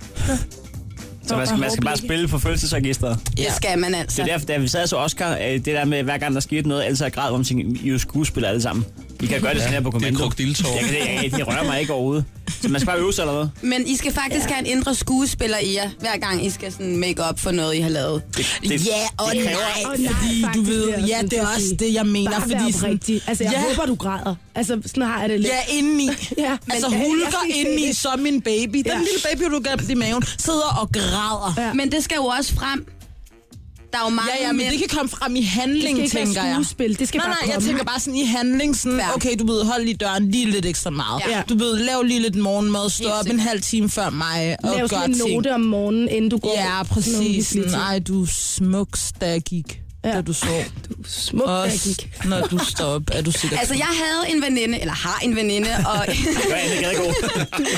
[SPEAKER 4] Så man skal, man skal bare spille på følelsesregisteret.
[SPEAKER 12] Det skal man
[SPEAKER 4] Det
[SPEAKER 12] altså.
[SPEAKER 4] er derfor, da vi sad så Oscar, øh, det der med, hver gang der skete noget, alle sad og græd, hvor man tænkte, I er jo skuespillere alle sammen. I kan gøre det sådan her på
[SPEAKER 3] det er
[SPEAKER 4] kommando.
[SPEAKER 3] krokodiltårer.
[SPEAKER 4] Jeg kan det, jeg, de rører mig ikke overhovedet. Så man skal bare øve sig eller hvad?
[SPEAKER 12] Men I skal faktisk have en indre skuespiller i jer, hver gang I skal sådan make up for noget, I har lavet.
[SPEAKER 4] Det-
[SPEAKER 13] Ja, og
[SPEAKER 12] det
[SPEAKER 13] nej,
[SPEAKER 12] kræver-
[SPEAKER 11] Og
[SPEAKER 13] fordi
[SPEAKER 11] nej,
[SPEAKER 13] du
[SPEAKER 11] faktisk,
[SPEAKER 13] ved,
[SPEAKER 11] det er også
[SPEAKER 13] ja, det
[SPEAKER 11] nødt til
[SPEAKER 13] er
[SPEAKER 11] at
[SPEAKER 13] også
[SPEAKER 11] sige.
[SPEAKER 13] det, jeg mener.
[SPEAKER 11] Bare
[SPEAKER 13] fordi
[SPEAKER 11] være
[SPEAKER 13] sådan,
[SPEAKER 11] oprigtig. Altså, jeg
[SPEAKER 13] ja,
[SPEAKER 11] håber, du græder. Altså, sådan har jeg det lidt.
[SPEAKER 13] Ja, indeni.
[SPEAKER 11] Ja.
[SPEAKER 13] Altså
[SPEAKER 11] Men-
[SPEAKER 13] hulker
[SPEAKER 11] Jeg kan ikke se
[SPEAKER 13] indeni
[SPEAKER 11] det.
[SPEAKER 13] som en baby. Den
[SPEAKER 11] Ja.
[SPEAKER 13] lille baby, du gav i maven, sidder og græder. Ja,
[SPEAKER 12] Men det skal jo også frem. Der er jo mange
[SPEAKER 13] ja, ja men
[SPEAKER 12] mænd-
[SPEAKER 13] det kan komme frem i
[SPEAKER 11] Det skal
[SPEAKER 13] handling,
[SPEAKER 11] ikke
[SPEAKER 13] tænker
[SPEAKER 11] være
[SPEAKER 13] jeg.
[SPEAKER 11] skuespil. Det skal
[SPEAKER 13] Nej,
[SPEAKER 11] bare
[SPEAKER 13] nej, jeg
[SPEAKER 11] komme.
[SPEAKER 13] tænker bare sådan i handling, sådan,
[SPEAKER 12] Fair.
[SPEAKER 13] okay, du ved, hold lige døren lige lidt ekstra meget.
[SPEAKER 12] Ja.
[SPEAKER 13] Du ved, lav lige lidt morgenmad, stå
[SPEAKER 12] Helt
[SPEAKER 13] op en
[SPEAKER 12] sikkert.
[SPEAKER 13] halv time før mig og
[SPEAKER 11] Lav
[SPEAKER 13] gør
[SPEAKER 11] sådan en
[SPEAKER 13] ting.
[SPEAKER 11] note om morgenen, inden du går.
[SPEAKER 13] Ja,
[SPEAKER 11] Nogle
[SPEAKER 13] præcis.
[SPEAKER 11] hyggelige
[SPEAKER 13] Sådan,
[SPEAKER 11] ting.
[SPEAKER 13] Ej, du er smuk, da jeg gik,
[SPEAKER 11] Ja.
[SPEAKER 13] da du sov.
[SPEAKER 11] Smuk, da jeg
[SPEAKER 13] Også
[SPEAKER 11] gik.
[SPEAKER 13] når du står op, er du sikkert
[SPEAKER 12] Altså, jeg havde en veninde, eller har en veninde, og
[SPEAKER 4] Gør Anne Gadegaard.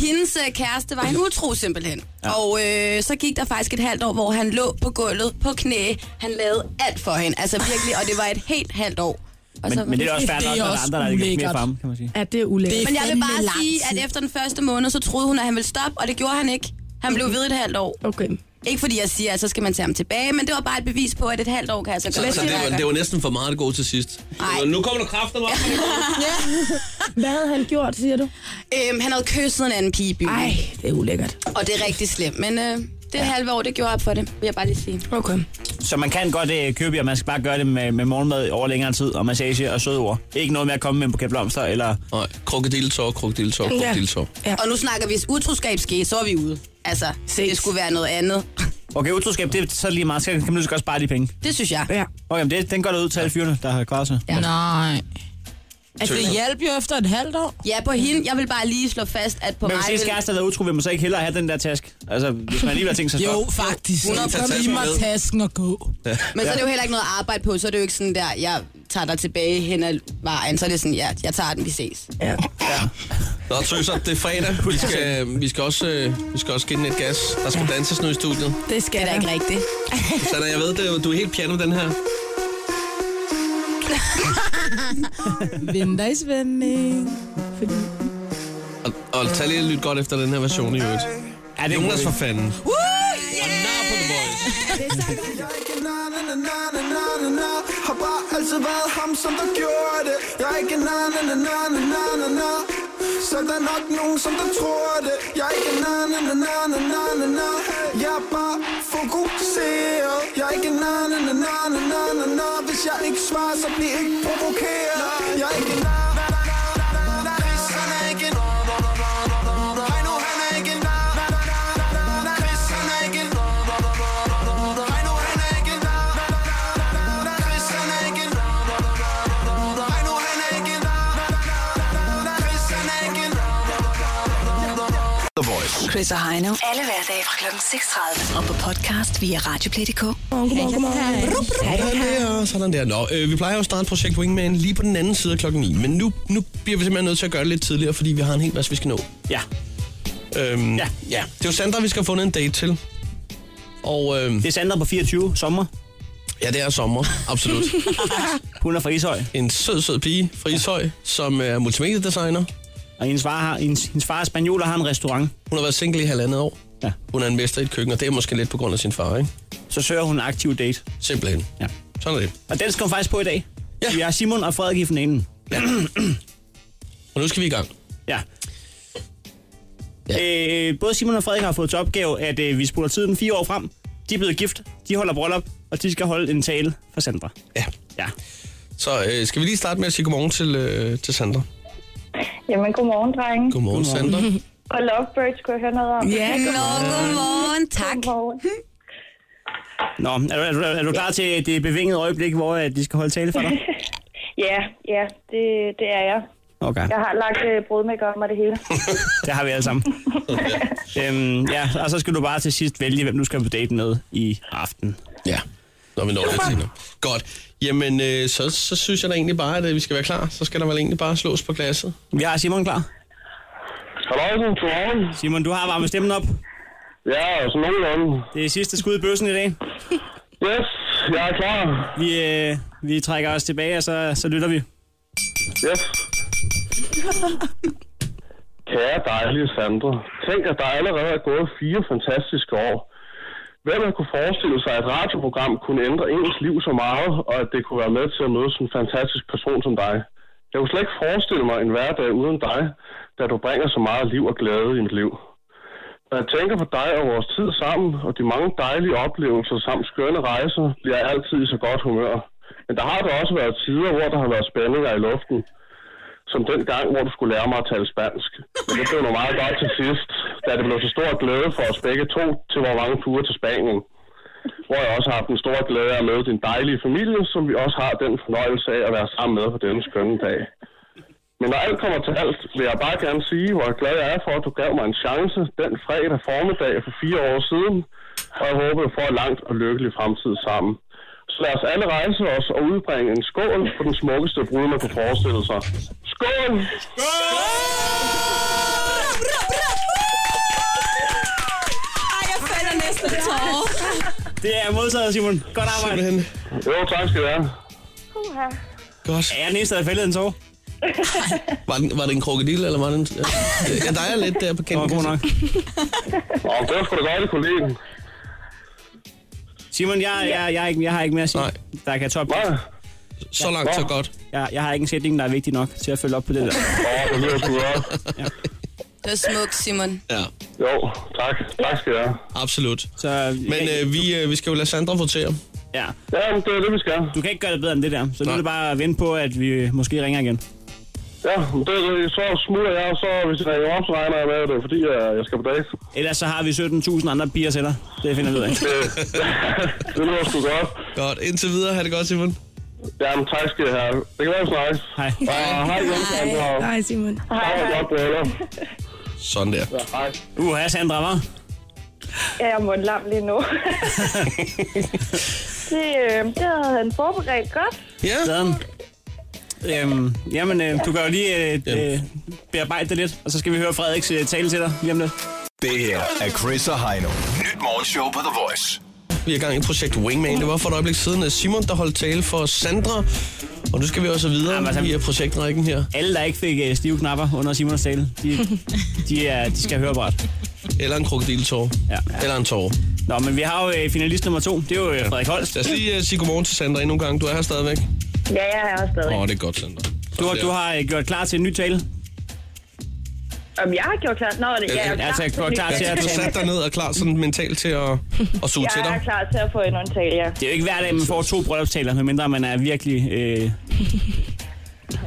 [SPEAKER 12] hendes øh, kæreste var en utro simpelthen. Ja. Og øh, så gik der faktisk et halvt år, hvor han lå på gulvet på knæ. Han lavede alt for hende, altså virkelig, og det var et helt halvt år. Og så var
[SPEAKER 4] Men, men det er også fair
[SPEAKER 13] Det er
[SPEAKER 4] nok, når der er
[SPEAKER 13] også
[SPEAKER 4] andre, der er lidt mere
[SPEAKER 13] ulækkert.
[SPEAKER 4] fremme, kan man sige.
[SPEAKER 11] Ja, det er ulækkert.
[SPEAKER 13] Det er
[SPEAKER 12] Men jeg vil
[SPEAKER 13] fandme
[SPEAKER 12] bare
[SPEAKER 13] lang
[SPEAKER 12] sige,
[SPEAKER 13] tid.
[SPEAKER 12] at efter den første måned, så troede hun, at han ville stoppe, og det gjorde han ikke. Han blev ved et halvt år.
[SPEAKER 11] Okay.
[SPEAKER 12] Ikke fordi jeg siger, at så skal man tage ham tilbage, men det var bare et bevis på, at et halvt år kan altså
[SPEAKER 3] Så,
[SPEAKER 12] gøre
[SPEAKER 3] så det, var, det var næsten for meget at gå til sidst.
[SPEAKER 12] Ej.
[SPEAKER 3] Nu kommer der kræfter op.
[SPEAKER 11] Hvad havde han gjort, siger du?
[SPEAKER 12] Øhm, han havde kysset en anden pige i byen,
[SPEAKER 11] Nej, det er ulækkert.
[SPEAKER 12] og det er rigtig slemt. Men øh, det ja. halve år, det gjorde op for det, vil jeg bare lige sige.
[SPEAKER 11] Okay.
[SPEAKER 4] Så man kan godt øh, købe jer, man skal bare gøre det med, med morgenmad over længere tid, og massage og søde ord. Ikke noget med at komme med en buket blomster, eller...
[SPEAKER 3] Nej, krokodiltår, krokodiltår, krokodiltår.
[SPEAKER 12] Og nu snakker vi, hvis utroskab skete, så er vi ude. Altså, Ses. det skulle være noget andet.
[SPEAKER 4] Okay, utroskab, det er så lige meget. Så kan man lige så godt spare de penge.
[SPEAKER 12] Det synes jeg.
[SPEAKER 4] Ja. Okay, men det, den går der ud til alle fyrene, der har klaret sig.
[SPEAKER 13] Ja. Nej.
[SPEAKER 4] Altså, det hjalp
[SPEAKER 13] jo efter et halvt år.
[SPEAKER 12] Ja, på hende. Jeg vil bare lige slå fast, at på
[SPEAKER 4] Men
[SPEAKER 12] mig...
[SPEAKER 4] hvis ens kæreste har været utro, vil man så ikke hellere have den der task? Altså, hvis man alligevel har tænkt sig
[SPEAKER 13] Jo, faktisk.
[SPEAKER 4] Hun har
[SPEAKER 13] Kom lige mig tasken og gå.
[SPEAKER 12] Men så er det jo heller ikke noget at arbejde på, så er det jo ikke sådan der, jeg tager dig tilbage hen ad vejen, så er det sådan, ja, jeg tager den, vi ses.
[SPEAKER 3] Ja. Nå, tøser, det er fredag. Vi skal, vi skal også, øh, vi skal også give den et gas. Der skal danses nu i studiet.
[SPEAKER 12] Det skal da ikke rigtigt.
[SPEAKER 3] Sanna, jeg ved, det, er- du er helt piano den her.
[SPEAKER 11] Venter i spænding. Fordi...
[SPEAKER 3] Og, og tag lige og lyt godt efter den her version i øvrigt. Er det Jonas for fanden?
[SPEAKER 10] Woo! Yeah! Har bare altid været ham, som der gjorde det Jeg er ikke na na na na na na na na Så der er nok nogen, som der tror det Jeg er ikke na na na na na na na na Jeg er bare fokuseret Jeg er ikke na na na na na na na na Hvis jeg ikke svarer, så bliver ikke provokeret Jeg er ikke na Chris, han er ikke na na na na na na Hej nu, han er ikke na na na na na na Chris, han er ikke na na na na na na na Hej nu, han er ikke na na na
[SPEAKER 5] The Voice.
[SPEAKER 2] Chris og Heino. Alle hverdage fra kl. 6.30. Og på podcast via Radioplay.dk.
[SPEAKER 3] godmorgen, Sådan der, sådan der. Nå, øh, vi plejer jo at starte projekt Wingman lige på den anden side af klokken 9, men nu, nu bliver vi simpelthen nødt til at gøre det lidt tidligere, fordi vi har en hel masse, vi skal nå.
[SPEAKER 4] Ja.
[SPEAKER 3] Øhm, ja. ja. Det er jo Sandra, vi skal have fundet en date til. Og, øhm, det
[SPEAKER 4] er Sandra på 24, sommer.
[SPEAKER 3] Ja, det er sommer, absolut.
[SPEAKER 4] Hun er fra Ishøj.
[SPEAKER 3] En sød, sød pige fra Ishøj, som er multimediedesigner.
[SPEAKER 4] Og hendes far, har, hendes, hendes far er spanioler har en restaurant.
[SPEAKER 3] Hun har været single i halvandet år.
[SPEAKER 4] Ja.
[SPEAKER 3] Hun er en mester i et køkken, og det er måske lidt på grund af sin far, ikke?
[SPEAKER 4] Så søger hun en aktiv date.
[SPEAKER 3] Simpelthen.
[SPEAKER 4] Ja.
[SPEAKER 3] Sådan er det.
[SPEAKER 4] Og den skal hun faktisk på i dag. Ja. Vi har Simon og Frederik i finalen. Ja.
[SPEAKER 3] og nu skal vi i gang.
[SPEAKER 4] Ja. ja. Øh, både Simon og Frederik har fået til opgave, at øh, vi spoler tiden fire år frem. De er blevet gift, de holder bryllup, og de skal holde en tale for Sandra.
[SPEAKER 3] Ja.
[SPEAKER 4] Ja.
[SPEAKER 3] Så øh, skal vi lige starte med at sige godmorgen til, øh, til Sandra.
[SPEAKER 6] Jamen, godmorgen, drenge.
[SPEAKER 3] Godmorgen, Sandra.
[SPEAKER 6] Og Lovebirds, kunne jeg høre noget om?
[SPEAKER 12] Ja, Nå, godmorgen. Tak.
[SPEAKER 4] Nå, er du, er du, er du klar til det bevingede øjeblik, hvor at de skal holde tale for dig?
[SPEAKER 6] ja, ja, det, det er jeg.
[SPEAKER 4] Okay.
[SPEAKER 6] Jeg har lagt øh, brudmæk om og det hele.
[SPEAKER 4] Det har vi alle sammen. øhm, ja, og så skal du bare til sidst vælge, hvem du skal på date med i aften.
[SPEAKER 3] Ja. Når vi når lidt senere. Godt. Jamen, øh, så, så synes jeg da egentlig bare, at øh, vi skal være klar. Så skal der vel egentlig bare slås på glasset.
[SPEAKER 4] Vi har Simon klar.
[SPEAKER 7] Hallo, godmorgen.
[SPEAKER 4] Simon, du har varmet stemmen op.
[SPEAKER 7] Ja, som nogenlunde.
[SPEAKER 4] Det er sidste skud i bøssen i dag.
[SPEAKER 7] Yes, jeg er klar.
[SPEAKER 4] Vi, øh, vi trækker os tilbage, og så, så lytter vi.
[SPEAKER 7] Yes. Kære dejlige Sandra, tænk at der allerede er gået fire fantastiske år. Hvem man kunne forestille sig, at et radioprogram kunne ændre ens liv så meget, og at det kunne være med til at møde sådan en fantastisk person som dig. Jeg kunne slet ikke forestille mig en hverdag uden dig, da du bringer så meget liv og glæde i mit liv. Når jeg tænker på dig og vores tid sammen, og de mange dejlige oplevelser samt skønne rejser, bliver jeg altid i så godt humør. Men der har da også været tider, hvor der har været spændinger i luften som den gang, hvor du skulle lære mig at tale spansk. Men det blev nu meget godt til sidst, da det blev så stor glæde for os begge to til vores mange ture til Spanien. Hvor jeg også har haft en stor glæde af at møde din dejlige familie, som vi også har den fornøjelse af at være sammen med på denne skønne dag. Men når alt kommer til alt, vil jeg bare gerne sige, hvor glad jeg er for, at du gav mig en chance den fredag formiddag for fire år siden, og jeg håber, du får en langt og lykkelig fremtid sammen. Så lad os alle rejse os og udbringe en skål for den smukkeste brud, man kunne forestille sig. Skål!
[SPEAKER 12] Ej, jeg falder næsten i tårer.
[SPEAKER 4] Det er modtaget, Simon. Godt arbejde.
[SPEAKER 3] Simpelthen.
[SPEAKER 7] Jo, tak skal du have.
[SPEAKER 3] Godt.
[SPEAKER 4] Er jeg næste, der fældet en tår?
[SPEAKER 3] Var det, var det en krokodil, eller var det en... Jeg dejer lidt der på kanten.
[SPEAKER 4] Nå, god nok.
[SPEAKER 7] Og det var sgu da godt, i kollegen.
[SPEAKER 4] Simon, jeg, jeg, jeg, har ikke, jeg har ikke mere at sige, der kan toppe.
[SPEAKER 7] Nej.
[SPEAKER 3] Så langt, så godt.
[SPEAKER 4] Jeg, jeg har ikke en sætning, der er vigtig nok til at følge op på det der.
[SPEAKER 7] Åh, det lyder sgu godt.
[SPEAKER 12] Det er smukt, Simon.
[SPEAKER 3] Ja.
[SPEAKER 7] Jo, tak. Tak skal jeg have.
[SPEAKER 3] Absolut.
[SPEAKER 4] Så,
[SPEAKER 3] Men øh, vi, øh, vi skal jo lade Sandra votere.
[SPEAKER 4] Ja.
[SPEAKER 7] Ja, det er det, vi skal.
[SPEAKER 4] Du kan ikke gøre det bedre end det der, så nu er det bare at vente på, at vi måske ringer igen.
[SPEAKER 7] Ja, men det, det, så smutter jeg, og så hvis jeg ringer op, så regner jeg med, at det er fordi, jeg, jeg skal på date.
[SPEAKER 4] Ellers så har vi 17.000 andre bier til dig. Det finder vi ud af.
[SPEAKER 7] det lyder sgu godt.
[SPEAKER 3] Godt. Indtil videre. Ha' det godt, Simon.
[SPEAKER 7] Jamen, tak skal I have. Det kan være, vi snakkes.
[SPEAKER 4] Hej.
[SPEAKER 7] Ja, hej, Jens.
[SPEAKER 11] Hej, Simon.
[SPEAKER 7] Hej, godt, briller.
[SPEAKER 3] Sådan der.
[SPEAKER 7] Ja, hej.
[SPEAKER 4] Uha, Sandra, hva'?
[SPEAKER 6] Ja, jeg er mundlam lige nu. det, øh, det havde han forberedt godt.
[SPEAKER 3] Ja.
[SPEAKER 4] Sådan. Øhm, jamen, øh, du kan jo lige øh, øh, bearbejde det lidt, og så skal vi høre Frederiks øh, tale til dig lige om lidt.
[SPEAKER 5] Det her er Chris og Heino. Nyt morgenshow på The Voice.
[SPEAKER 3] Vi er i gang i projekt Wingman. Det var for et øjeblik siden øh, Simon, der holdt tale for Sandra. Og nu skal vi også videre Jamen, i øh, projektrækken her.
[SPEAKER 4] altså, Alle, der ikke fik øh, stive knapper under Simons tale, de, de, er, de skal høre bræt.
[SPEAKER 3] Eller en krokodiltår.
[SPEAKER 4] Ja.
[SPEAKER 3] Eller en tår.
[SPEAKER 4] Nå, men vi har jo øh, finalist nummer to. Det er jo øh, Frederik Holst.
[SPEAKER 3] Lad os lige øh, sige godmorgen til Sandra endnu en gang. Du er her stadigvæk.
[SPEAKER 6] Ja, jeg er her også stadig.
[SPEAKER 3] Åh, oh, det er godt, Sandra.
[SPEAKER 4] Du, har- du har øh, gjort klar til en ny tale.
[SPEAKER 6] Om jeg har gjort klar? Nå, det, jeg er jo
[SPEAKER 4] Ja,
[SPEAKER 6] klar,
[SPEAKER 4] tak.
[SPEAKER 6] til
[SPEAKER 4] Godt,
[SPEAKER 6] en ny-
[SPEAKER 4] klar til
[SPEAKER 3] Ja,
[SPEAKER 4] at
[SPEAKER 3] du
[SPEAKER 4] tage
[SPEAKER 3] sat dig ned og klar sådan mentalt til at, at suge til
[SPEAKER 6] Jeg er
[SPEAKER 3] dig.
[SPEAKER 6] klar til at få endnu en tale, ja.
[SPEAKER 4] Det er jo ikke hver dag, man får to bryllupstaler, medmindre man er virkelig... Øh,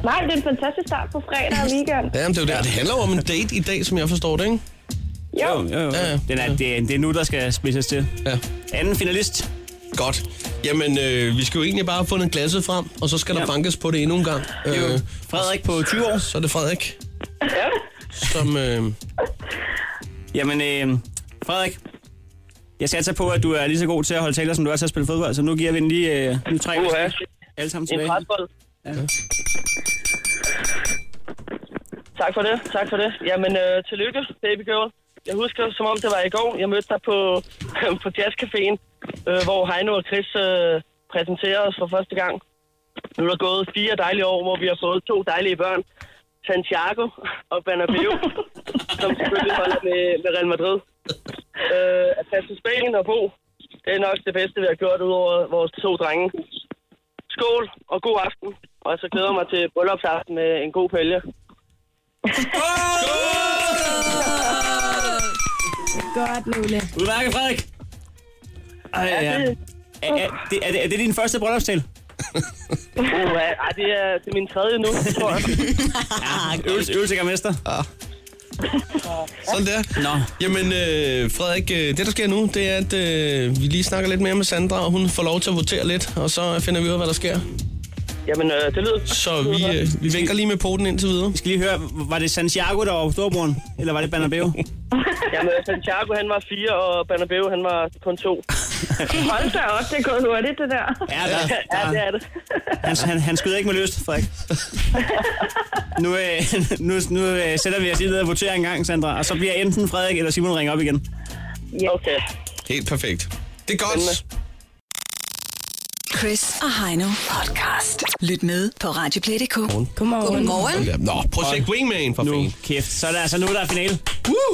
[SPEAKER 6] Nej, det er en fantastisk start på fredag og weekend.
[SPEAKER 3] Ja, men det er jo det. Og Det handler jo om en date i dag, som jeg forstår det, ikke?
[SPEAKER 4] jo, jo, jo. Den er, det, er- det er nu, der skal spidses til.
[SPEAKER 3] Ja.
[SPEAKER 4] Anden finalist.
[SPEAKER 3] Godt. Jamen, øh, vi skal jo egentlig bare have fundet glasset frem, og så skal der
[SPEAKER 4] Ja.
[SPEAKER 3] bankes på det endnu en gang. Øh,
[SPEAKER 4] Frederik på 20 år.
[SPEAKER 3] så er det Frederik. Som, øh,
[SPEAKER 4] Jamen, øh, Frederik, jeg satser på, at du er lige så god til at holde taler, som du er til at spille fodbold, så nu giver vi den lige... Øh, nu trækker vi den alle sammen tilbage.
[SPEAKER 14] Tak for det, tak for det. Jamen, øh, tillykke, baby girl. Jeg husker, som om det var i går, jeg mødte dig på, på jazzcaféen, øh, hvor Heino og Chris øh, præsenterede os for første gang. Nu er der gået fire dejlige år, hvor vi har fået to dejlige børn. Santiago og Bernabeu, som selvfølgelig holder med, med Real Madrid. Øh, at tage til Spanien og bo, det er nok det bedste, vi har gjort ud over vores to drenge. Skål og god aften. Og så glæder jeg mig til bryllupsaften med en god pælge.
[SPEAKER 11] Godt, Lule.
[SPEAKER 4] Udmærket, Frederik. Ej,
[SPEAKER 14] Er
[SPEAKER 4] ja. er,
[SPEAKER 14] det-
[SPEAKER 4] er, det, er, det, er det din første bryllupstale?
[SPEAKER 14] Uh, ej, det er, det er min tredje nu, tror jeg.
[SPEAKER 4] Øvelse, øvelse gør mester.
[SPEAKER 3] Ah. Sådan der.
[SPEAKER 4] Nå.
[SPEAKER 3] Jamen, øh, Frederik, øh, det der sker nu, det er, at øh, vi lige snakker lidt mere med Sandra, og hun får lov til at votere lidt, og så finder vi ud af, hvad der sker.
[SPEAKER 14] Jamen, øh, det lyder...
[SPEAKER 3] Så vi, øh, vi vinker lige med poten indtil videre.
[SPEAKER 4] Vi skal lige høre, var det Santiago, der var på storebroren? Eller var det Bernabeu?
[SPEAKER 14] Jamen, Santiago, han var fire, og Bernabeu, han var kun to.
[SPEAKER 6] Hold da op, det er gået hurtigt, det der.
[SPEAKER 4] Ja, der,
[SPEAKER 14] Ja, det
[SPEAKER 4] der,
[SPEAKER 14] er det.
[SPEAKER 4] han, han, han skyder ikke med lyst, Frederik. Nu, øh, nu, nu øh, sætter vi os lige ned og voterer en gang, Sandra, og så bliver enten Frederik eller Simon ringer op igen.
[SPEAKER 14] Okay.
[SPEAKER 3] Helt perfekt. Det er godt.
[SPEAKER 2] Chris og Heino podcast. Lyt med på Radioplay.dk.
[SPEAKER 11] Godmorgen.
[SPEAKER 2] Godmorgen.
[SPEAKER 3] Sådan der. Nå, projekt Wingman for
[SPEAKER 4] Nu
[SPEAKER 3] fanden.
[SPEAKER 4] kæft, så er der altså nu, der er finale.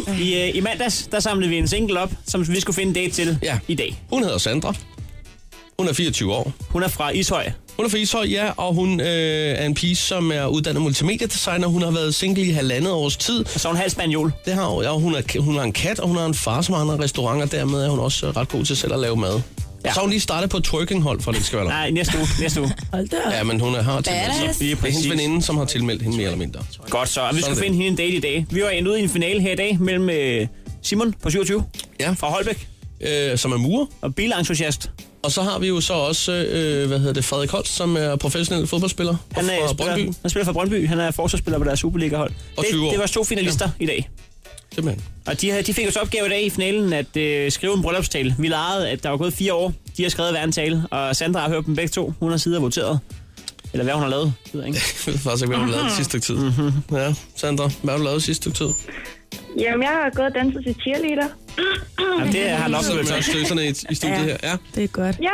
[SPEAKER 4] Uh! I, øh, I mandags, der samlede vi en single op, som vi skulle finde en date til
[SPEAKER 3] Ja.
[SPEAKER 4] i dag.
[SPEAKER 3] Hun hedder Sandra. Hun er 24 år.
[SPEAKER 4] Hun er fra Ishøj.
[SPEAKER 3] Hun er fra Ishøj, ja, og hun øh, er en pige, som er uddannet multimediedesigner. Hun har været single i halvandet års tid.
[SPEAKER 4] Og så er hun halv spanjol.
[SPEAKER 3] Det har hun, ja, og hun, er, hun har en kat, og hun har en far, som har andre restauranter. Dermed er hun også øh, ret god til selv at lave mad. Ja.
[SPEAKER 4] Ja.
[SPEAKER 3] Så har hun lige startet på et twerkinghold, for det ikke skal være løgn.
[SPEAKER 4] Nej, næste uge. Næste uge.
[SPEAKER 11] Hold da op.
[SPEAKER 3] Ja, men hun er- har tilmeldt sig.
[SPEAKER 2] Badass.
[SPEAKER 4] Lige
[SPEAKER 3] Det er hendes
[SPEAKER 4] præcis.
[SPEAKER 3] veninde, som har tilmeldt hende mere eller mindre.
[SPEAKER 4] Godt så. Og vi
[SPEAKER 3] Sådan
[SPEAKER 4] skulle
[SPEAKER 3] det.
[SPEAKER 4] finde hende en date i dag. Vi var endt ude i en finale her i dag mellem øh, Simon på 27
[SPEAKER 3] Ja.
[SPEAKER 4] fra Holbæk
[SPEAKER 3] Øh, som er murer.
[SPEAKER 4] og bilentusiast.
[SPEAKER 3] Og så har vi jo så også, øh, hvad hedder det, Frederik Holst, som er professionel fodboldspiller
[SPEAKER 4] Han,
[SPEAKER 3] fra
[SPEAKER 4] er, spiller,
[SPEAKER 3] Brøndby.
[SPEAKER 4] han spiller for Brøndby. Han er forsvarsspiller på deres Superliga-hold.
[SPEAKER 3] Og 20 år.
[SPEAKER 4] Det, det var to finalister ja. i dag.
[SPEAKER 3] Simpelthen.
[SPEAKER 4] Og de, havde, de fik os opgave i dag i finalen at øh, skrive en bryllupstale. Vi legede, at der var gået fire år. De har skrevet hver en tale, og Sandra har hørt dem begge to. Hun har siddet og voteret. Eller hvad hun har lavet. Det ved jeg ikke.
[SPEAKER 3] Jeg ved faktisk ikke, hvad hun lavede det sidste stykke tid. Mm-hmm. Ja, Sandra, hvad har du lavet det sidste stykke tid?
[SPEAKER 6] Jamen, jeg har gået og danset til cheerleader.
[SPEAKER 4] Jamen, det har nok
[SPEAKER 3] Så er
[SPEAKER 4] været
[SPEAKER 3] vi også sløserne i, i studiet
[SPEAKER 11] Ja.
[SPEAKER 3] her. Ja.
[SPEAKER 11] Det er godt.
[SPEAKER 6] Ja,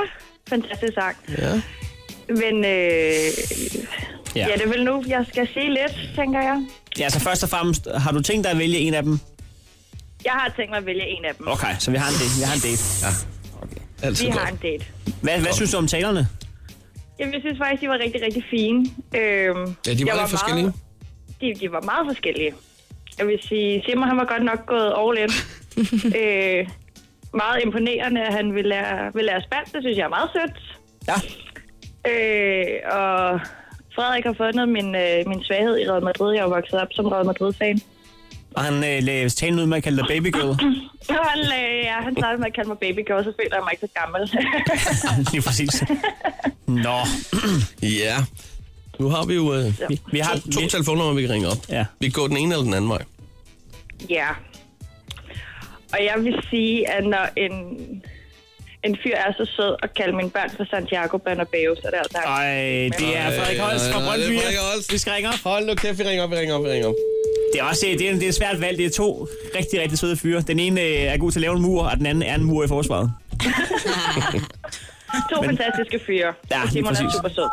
[SPEAKER 6] fantastisk sagt.
[SPEAKER 3] ja.
[SPEAKER 6] Men øh,
[SPEAKER 4] Ja.
[SPEAKER 6] ja. ja, det er vel nu, jeg skal sige lidt, tænker jeg.
[SPEAKER 4] Ja, så først og fremmest, har du tænkt dig at vælge en af dem?
[SPEAKER 6] Jeg har tænkt mig at vælge en af dem.
[SPEAKER 4] Okay, så vi har en date. Vi har en date. Ja.
[SPEAKER 3] Altid
[SPEAKER 6] Vi
[SPEAKER 3] godt.
[SPEAKER 6] har en date.
[SPEAKER 4] Hvad, hvad synes du om talerne?
[SPEAKER 6] Jamen, jeg synes faktisk, de var rigtig, rigtig fine. Øhm,
[SPEAKER 3] Ja, de var
[SPEAKER 6] jeg
[SPEAKER 3] lidt forskellige.
[SPEAKER 6] Meget, de, de var meget forskellige. Jeg vil sige, Simon han var godt nok gået all in. øh, meget imponerende, at han vil lære, vil lære spansk. Det synes jeg er meget sødt.
[SPEAKER 4] Ja.
[SPEAKER 6] Øh, og Frederik har fundet min, øh, min svaghed i Real Madrid. Jeg er jo vokset op som Real Madrid-fan.
[SPEAKER 4] Og han øh, lagde talen ud med at kalde dig baby girl.
[SPEAKER 6] Han, øh, ja, han startede med at kalde mig baby girl, så føler jeg mig ikke så gammel.
[SPEAKER 4] Lige præcis. Nå.
[SPEAKER 3] ja. Nu har vi jo øh,
[SPEAKER 6] Ja.
[SPEAKER 3] vi, vi har to, to telefonnummer, vi kan ringe op.
[SPEAKER 4] Ja.
[SPEAKER 3] Vi kan gå den ene eller den anden vej.
[SPEAKER 6] ja. Og jeg vil sige, at når en, en fyr er så sød og kalder mine børn for Santiago Bernabeu, så er det altså...
[SPEAKER 4] Ej, Øh, det er altså Frederik Holst fra Brøndby.
[SPEAKER 3] Det er Frederik Holst.
[SPEAKER 4] Vi skal ringe op.
[SPEAKER 3] Hold nu kæft, vi ringer op, vi ringer op, vi ringer op.
[SPEAKER 4] Det er også øh, det er, det er et svært valg. Det er to rigtig, rigtig søde fyre. Den ene øh, er god til at lave en mur, og den anden er en mur i forsvaret.
[SPEAKER 6] To men, fantastiske fyre.
[SPEAKER 4] Ja,
[SPEAKER 6] Og
[SPEAKER 4] lige
[SPEAKER 6] Simon er
[SPEAKER 4] præcis.
[SPEAKER 6] super sød.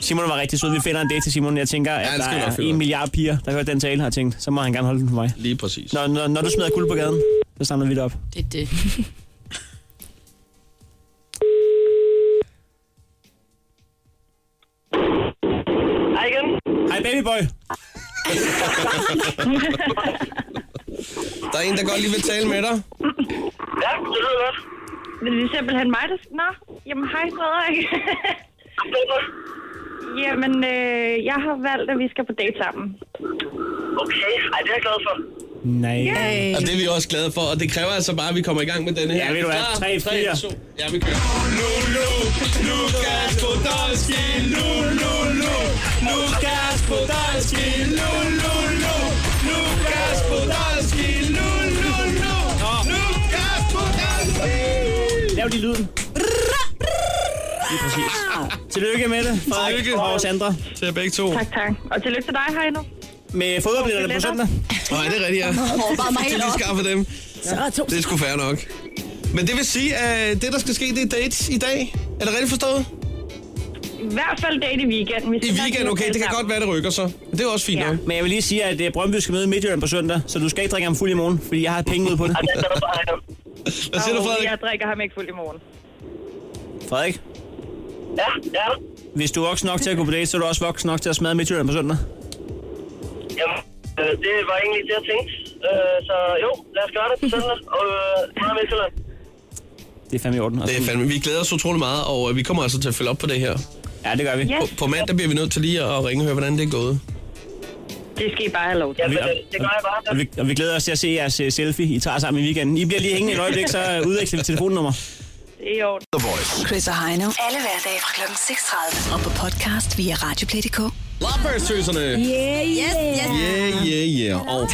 [SPEAKER 4] Simon var rigtig sød. Vi finder en date til Simon. Jeg tænker, at
[SPEAKER 3] han
[SPEAKER 4] der
[SPEAKER 3] skal nok
[SPEAKER 4] er
[SPEAKER 3] finde
[SPEAKER 4] en
[SPEAKER 3] ud.
[SPEAKER 4] milliard piger, der hørte den tale, har tænkt, så må han gerne holde den for mig.
[SPEAKER 3] Lige præcis.
[SPEAKER 4] Når, når, når du smider guld på gaden, så samler vi det op.
[SPEAKER 12] Det er det.
[SPEAKER 14] Hej igen.
[SPEAKER 4] Hej babyboy.
[SPEAKER 3] Der er en, der godt lige vil tale med dig.
[SPEAKER 14] Ja, det lyder godt.
[SPEAKER 6] Men det er simpelthen mig, der... Nå, jamen hej Frederik. jamen, øh, jeg har valgt, at vi skal på date sammen.
[SPEAKER 14] Okay, ej, det er jeg glad for.
[SPEAKER 4] Nej.
[SPEAKER 3] Yay. Og det er vi også glade for, og det kræver altså bare, at vi kommer i gang med den her.
[SPEAKER 4] Ja, ved du hvad?
[SPEAKER 3] Klar?
[SPEAKER 4] Tre, fire.
[SPEAKER 3] to. Ja, vi kører. Lulu, Lukas Podolski, Lulu, Lukas Podolski, Lulu, Lukas Podolski, Lulu, Lukas Podolski.
[SPEAKER 4] Lav lige lyden. Lige præcis. Tillykke med det, Frederik
[SPEAKER 3] Tillykke.
[SPEAKER 4] og Sandra.
[SPEAKER 3] Til begge to.
[SPEAKER 6] Tak, tak. Og tillykke til dig, Heino.
[SPEAKER 4] Med fodboldbilletterne på søndag.
[SPEAKER 3] Nej, det er rigtigt, ja.
[SPEAKER 12] bare mig
[SPEAKER 3] Til
[SPEAKER 12] helt op.
[SPEAKER 3] vi skaffer dem. Det er sgu fair nok. Men det vil sige, at det, der skal ske, det er dates i dag. Er det rigtigt forstået?
[SPEAKER 6] I hvert fald date i weekenden.
[SPEAKER 3] I weekend, okay. Det kan godt være, det rykker så. Men Det er også fint
[SPEAKER 6] Ja.
[SPEAKER 3] nok.
[SPEAKER 4] Men jeg vil lige sige, at øh, Brøndby skal møde Midtjylland på søndag, så du skal ikke drikke ham fuld i morgen, fordi jeg har penge ud på det.
[SPEAKER 3] Hvad siger du, Frederik?
[SPEAKER 6] Jeg drikker ham ikke fuld i morgen.
[SPEAKER 4] Frederik,
[SPEAKER 14] Ja, ja.
[SPEAKER 4] hvis du er voksen nok til at gå på date, så er du også voksen nok til at smadre Midtjylland på søndag.
[SPEAKER 14] Jamen, øh, det var egentlig det, jeg tænkte. Øh, så jo, lad os gøre det på søndag. Og øh, meget Midtjylland.
[SPEAKER 4] Det er fandme i orden.
[SPEAKER 3] Det er fandme. Vi glæder os utrolig meget, og øh, vi kommer altså til at følge op på det her.
[SPEAKER 4] Ja, det gør vi.
[SPEAKER 6] Yes.
[SPEAKER 3] På, på mandag bliver vi nødt til lige at ringe og høre, hvordan det er gået.
[SPEAKER 6] Det skal I bare have lov til.
[SPEAKER 14] Jamen, det, det gør jeg bare.
[SPEAKER 4] Og vi, og vi glæder os til at se jeres øh, selfie, I tager sammen i weekenden. I bliver lige hængende et øjeblik, så øh, udveksler vi telefonnummer.
[SPEAKER 6] Det er i orden.
[SPEAKER 5] The Voice.
[SPEAKER 2] Chris og Heino. Alle hverdage fra kl. 6.30. Og på podcast via Radioplay.dk.
[SPEAKER 3] Lovebirds-tøserne!
[SPEAKER 2] Yeah, yes, yes.
[SPEAKER 3] Øh. Yeah, yeah, yeah. Og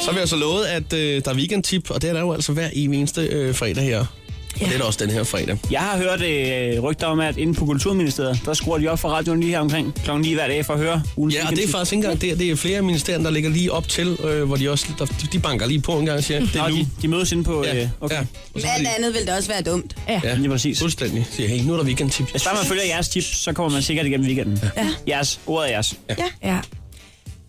[SPEAKER 3] så har vi altså lovet, at øh, der er weekendtip, og det er der jo altså hver evig eneste øh, fredag her. Og det er der også den her fredag.
[SPEAKER 4] Jeg har hørt øh, rygter om, at inde på Kulturministeriet, der skruer de op for radioen lige her omkring kl. 9 hver dag for at høre ugens
[SPEAKER 3] Ja, og det er
[SPEAKER 4] weekendtip.
[SPEAKER 3] faktisk ikke engang, det, det er flere af ministerierne, der ligger lige op til, øh, hvor de også, der, de banker lige på en gang og siger, det er
[SPEAKER 4] Nå,
[SPEAKER 3] nu.
[SPEAKER 4] de, de mødes inde på...
[SPEAKER 3] Ja,
[SPEAKER 4] Øh, okay.
[SPEAKER 3] ja. Og så har
[SPEAKER 12] Alt
[SPEAKER 3] de-
[SPEAKER 12] andet ville det også være dumt.
[SPEAKER 3] Ja,
[SPEAKER 4] Lige præcis.
[SPEAKER 3] fuldstændig. Siger, hey, nu er der weekendtip.
[SPEAKER 4] Hvis bare man følger jeres tips, så kommer man sikkert igennem weekenden. Ja. Jeres. Ordet er jeres.
[SPEAKER 11] Ja.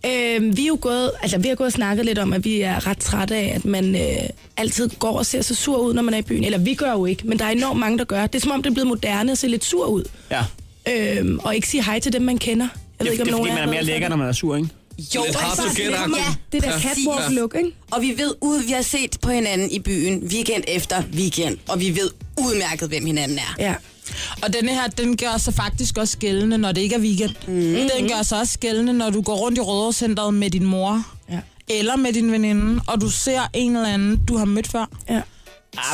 [SPEAKER 11] Øhm, vi, er jo gået, altså, vi har gået og snakket lidt om, at vi er ret trætte af, at man øh, altid går og ser så sur ud, når man er i byen. Eller vi gør jo ikke, men der er enormt mange, der gør. Det er som om, det er blevet moderne at se lidt sur ud.
[SPEAKER 4] Ja.
[SPEAKER 11] Øhm, og ikke sige hej til dem, man kender. Jeg
[SPEAKER 4] Det,
[SPEAKER 11] ved ikke,
[SPEAKER 4] det,
[SPEAKER 11] om
[SPEAKER 4] det er
[SPEAKER 11] nogen
[SPEAKER 4] fordi, man
[SPEAKER 11] af
[SPEAKER 4] er
[SPEAKER 11] jer
[SPEAKER 4] mere
[SPEAKER 11] ved
[SPEAKER 4] lækker,
[SPEAKER 11] det.
[SPEAKER 4] når man er sur, ikke?
[SPEAKER 12] Jo,
[SPEAKER 3] Lidt hard to get, agtigt.
[SPEAKER 12] ja,
[SPEAKER 11] altså, Det der catwalk-look, ikke?
[SPEAKER 12] Og vi ved ud, vi har set på hinanden i byen weekend efter weekend, og vi ved udmærket, hvem hinanden er.
[SPEAKER 11] Ja.
[SPEAKER 13] Og denne her, den gør sig faktisk også gældende, når det ikke er weekend. Mm. Den gør sig også gældende, når du går rundt i Rødovrecenteret med din mor,
[SPEAKER 11] Ja.
[SPEAKER 13] eller med din veninde, og du ser en eller anden, du har mødt før.
[SPEAKER 11] ja.
[SPEAKER 4] Ah,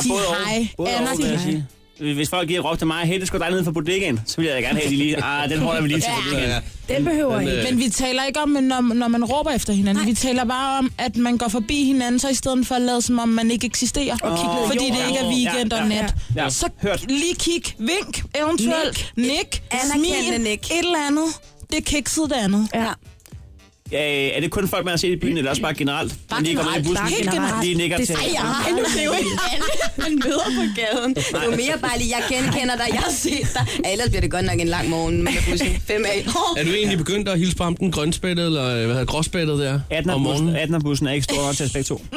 [SPEAKER 13] Sig hej.
[SPEAKER 4] Både og,
[SPEAKER 13] Anerkend
[SPEAKER 4] vil jeg
[SPEAKER 13] hej.
[SPEAKER 4] sige. Hvis folk giver råb til mig, hey, det skulle dig nede for bodegaen, så vil jeg da gerne have, at de lige, ah, den holder vi lige til bodegaen.
[SPEAKER 3] Ja,
[SPEAKER 11] Den behøver
[SPEAKER 3] Men,
[SPEAKER 11] ikke.
[SPEAKER 3] øh,
[SPEAKER 13] Men vi taler ikke om, at når, når man råber efter hinanden. Nej. Vi taler bare om, at man går forbi hinanden, så i stedet for at lade som om, man ikke eksisterer.
[SPEAKER 11] Og kigge ned i
[SPEAKER 13] fordi
[SPEAKER 11] jorden.
[SPEAKER 13] det ikke er weekend
[SPEAKER 4] Ja,
[SPEAKER 13] og
[SPEAKER 4] ja,
[SPEAKER 13] nat.
[SPEAKER 4] ja.
[SPEAKER 13] Så
[SPEAKER 4] Hørt.
[SPEAKER 13] lige kig, vink, eventuelt, nik, nik
[SPEAKER 12] Anerkendende
[SPEAKER 13] smil,
[SPEAKER 12] nik.
[SPEAKER 13] et eller andet. Det er kikset det andet.
[SPEAKER 11] Ja.
[SPEAKER 4] Ja, er det kun folk, man har set i byen, eller også bare generelt? Bare lige kommer ind i bussen,
[SPEAKER 11] bare
[SPEAKER 4] lige
[SPEAKER 11] generelt.
[SPEAKER 4] lige nikker
[SPEAKER 11] Det-
[SPEAKER 4] til.
[SPEAKER 11] Ej,
[SPEAKER 12] Jeg
[SPEAKER 11] ja.
[SPEAKER 12] har nu det er jo ikke alle, man møder på gaden. Det er jo mere bare lige, jeg genkender dig, jeg har set dig. Ja, ellers bliver det godt nok en lang morgen med bussen. Fem af.
[SPEAKER 3] Er du egentlig begyndt at hilse på ham, den grønspættede, eller øh, hvad hedder gråspættede der,
[SPEAKER 4] 18
[SPEAKER 3] om morgenen?
[SPEAKER 4] 18 bussen er ikke stor nok til os begge to.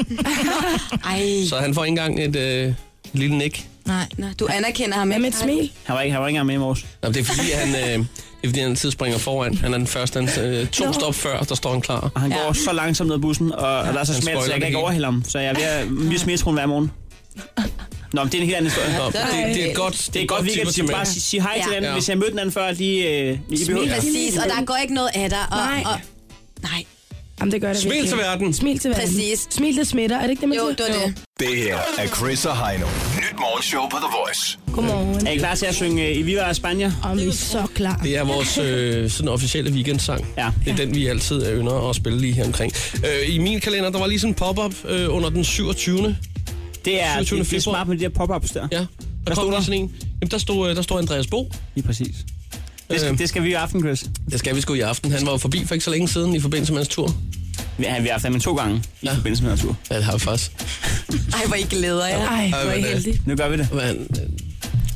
[SPEAKER 12] Ej,
[SPEAKER 3] Så han får ikke engang et øh, lille nik.
[SPEAKER 13] Nej.
[SPEAKER 12] Nå, du anerkender ham
[SPEAKER 11] Hvad med et smil?
[SPEAKER 4] Han var ikke, han var ikke engang med i morges.
[SPEAKER 3] Nå, men det er fordi, han, øh, det er, fordi, han altid springer foran. Han er den første, han, øh, to stop før, der står han klar.
[SPEAKER 4] Og han går så langsomt ned ad bussen, og, og der er så
[SPEAKER 3] han
[SPEAKER 4] smalt,
[SPEAKER 3] spoiler
[SPEAKER 4] så jeg kan
[SPEAKER 3] det
[SPEAKER 4] ikke
[SPEAKER 3] hele.
[SPEAKER 4] overhælde ham. Så jeg er ved at misse metroen hver morgen. Nå, men det er en helt anden historie.
[SPEAKER 3] Ja, Nå, det er- det- det er et godt-
[SPEAKER 4] det er et godt weekend.
[SPEAKER 3] tip at
[SPEAKER 4] Sig, bare
[SPEAKER 3] tage med.
[SPEAKER 4] sig, sig hej ja. til
[SPEAKER 3] Ja.
[SPEAKER 4] den,
[SPEAKER 3] Ja.
[SPEAKER 4] hvis jeg mødte den anden før, lige... Øh, lige
[SPEAKER 12] Smil præcis, og der går ikke noget af dig. Og,
[SPEAKER 11] Nej.
[SPEAKER 12] Og, nej.
[SPEAKER 11] Jamen, det gør det
[SPEAKER 12] Smil
[SPEAKER 11] virkelig.
[SPEAKER 12] til
[SPEAKER 3] verden.
[SPEAKER 11] Smil til verden.
[SPEAKER 12] Præcis.
[SPEAKER 11] Smil, det smitter. Er det ikke det, man
[SPEAKER 12] Jo,
[SPEAKER 11] siger?
[SPEAKER 12] det var det.
[SPEAKER 5] Det her er Chris og Heino. Nyt morgenshow på The Voice.
[SPEAKER 11] Godmorgen.
[SPEAKER 4] Er I klar til at synge øh, I Viva Spania?
[SPEAKER 11] Om vi er så klar.
[SPEAKER 3] Det er vores øh, sådan officielle weekendsang. Ja. Det er den, vi altid er ynder at spille lige her omkring. Øh, I min kalender, der var lige sådan en pop-up øh, under den 27.
[SPEAKER 4] Det er, det, det er smart med de der pop-ups der.
[SPEAKER 3] Ja. Der, der
[SPEAKER 4] stod
[SPEAKER 3] kom
[SPEAKER 4] der?
[SPEAKER 3] der sådan en. Jamen, der stod, øh, der stod Andreas Bo.
[SPEAKER 4] Lige præcis. Det
[SPEAKER 3] Øh.
[SPEAKER 4] skal, det skal vi i aften, Chris.
[SPEAKER 3] Det skal vi sgu i aften. Han var jo forbi for ikke så længe siden i forbindelse med hans tur.
[SPEAKER 4] Ja, vi har haft ham to gange i ja. forbindelse med hans tur.
[SPEAKER 3] Ja, det har vi faktisk.
[SPEAKER 12] Ej, hvor I glæder jer.
[SPEAKER 11] Ej, hvor er I heldige.
[SPEAKER 4] Nu gør vi det.
[SPEAKER 3] Men, øh,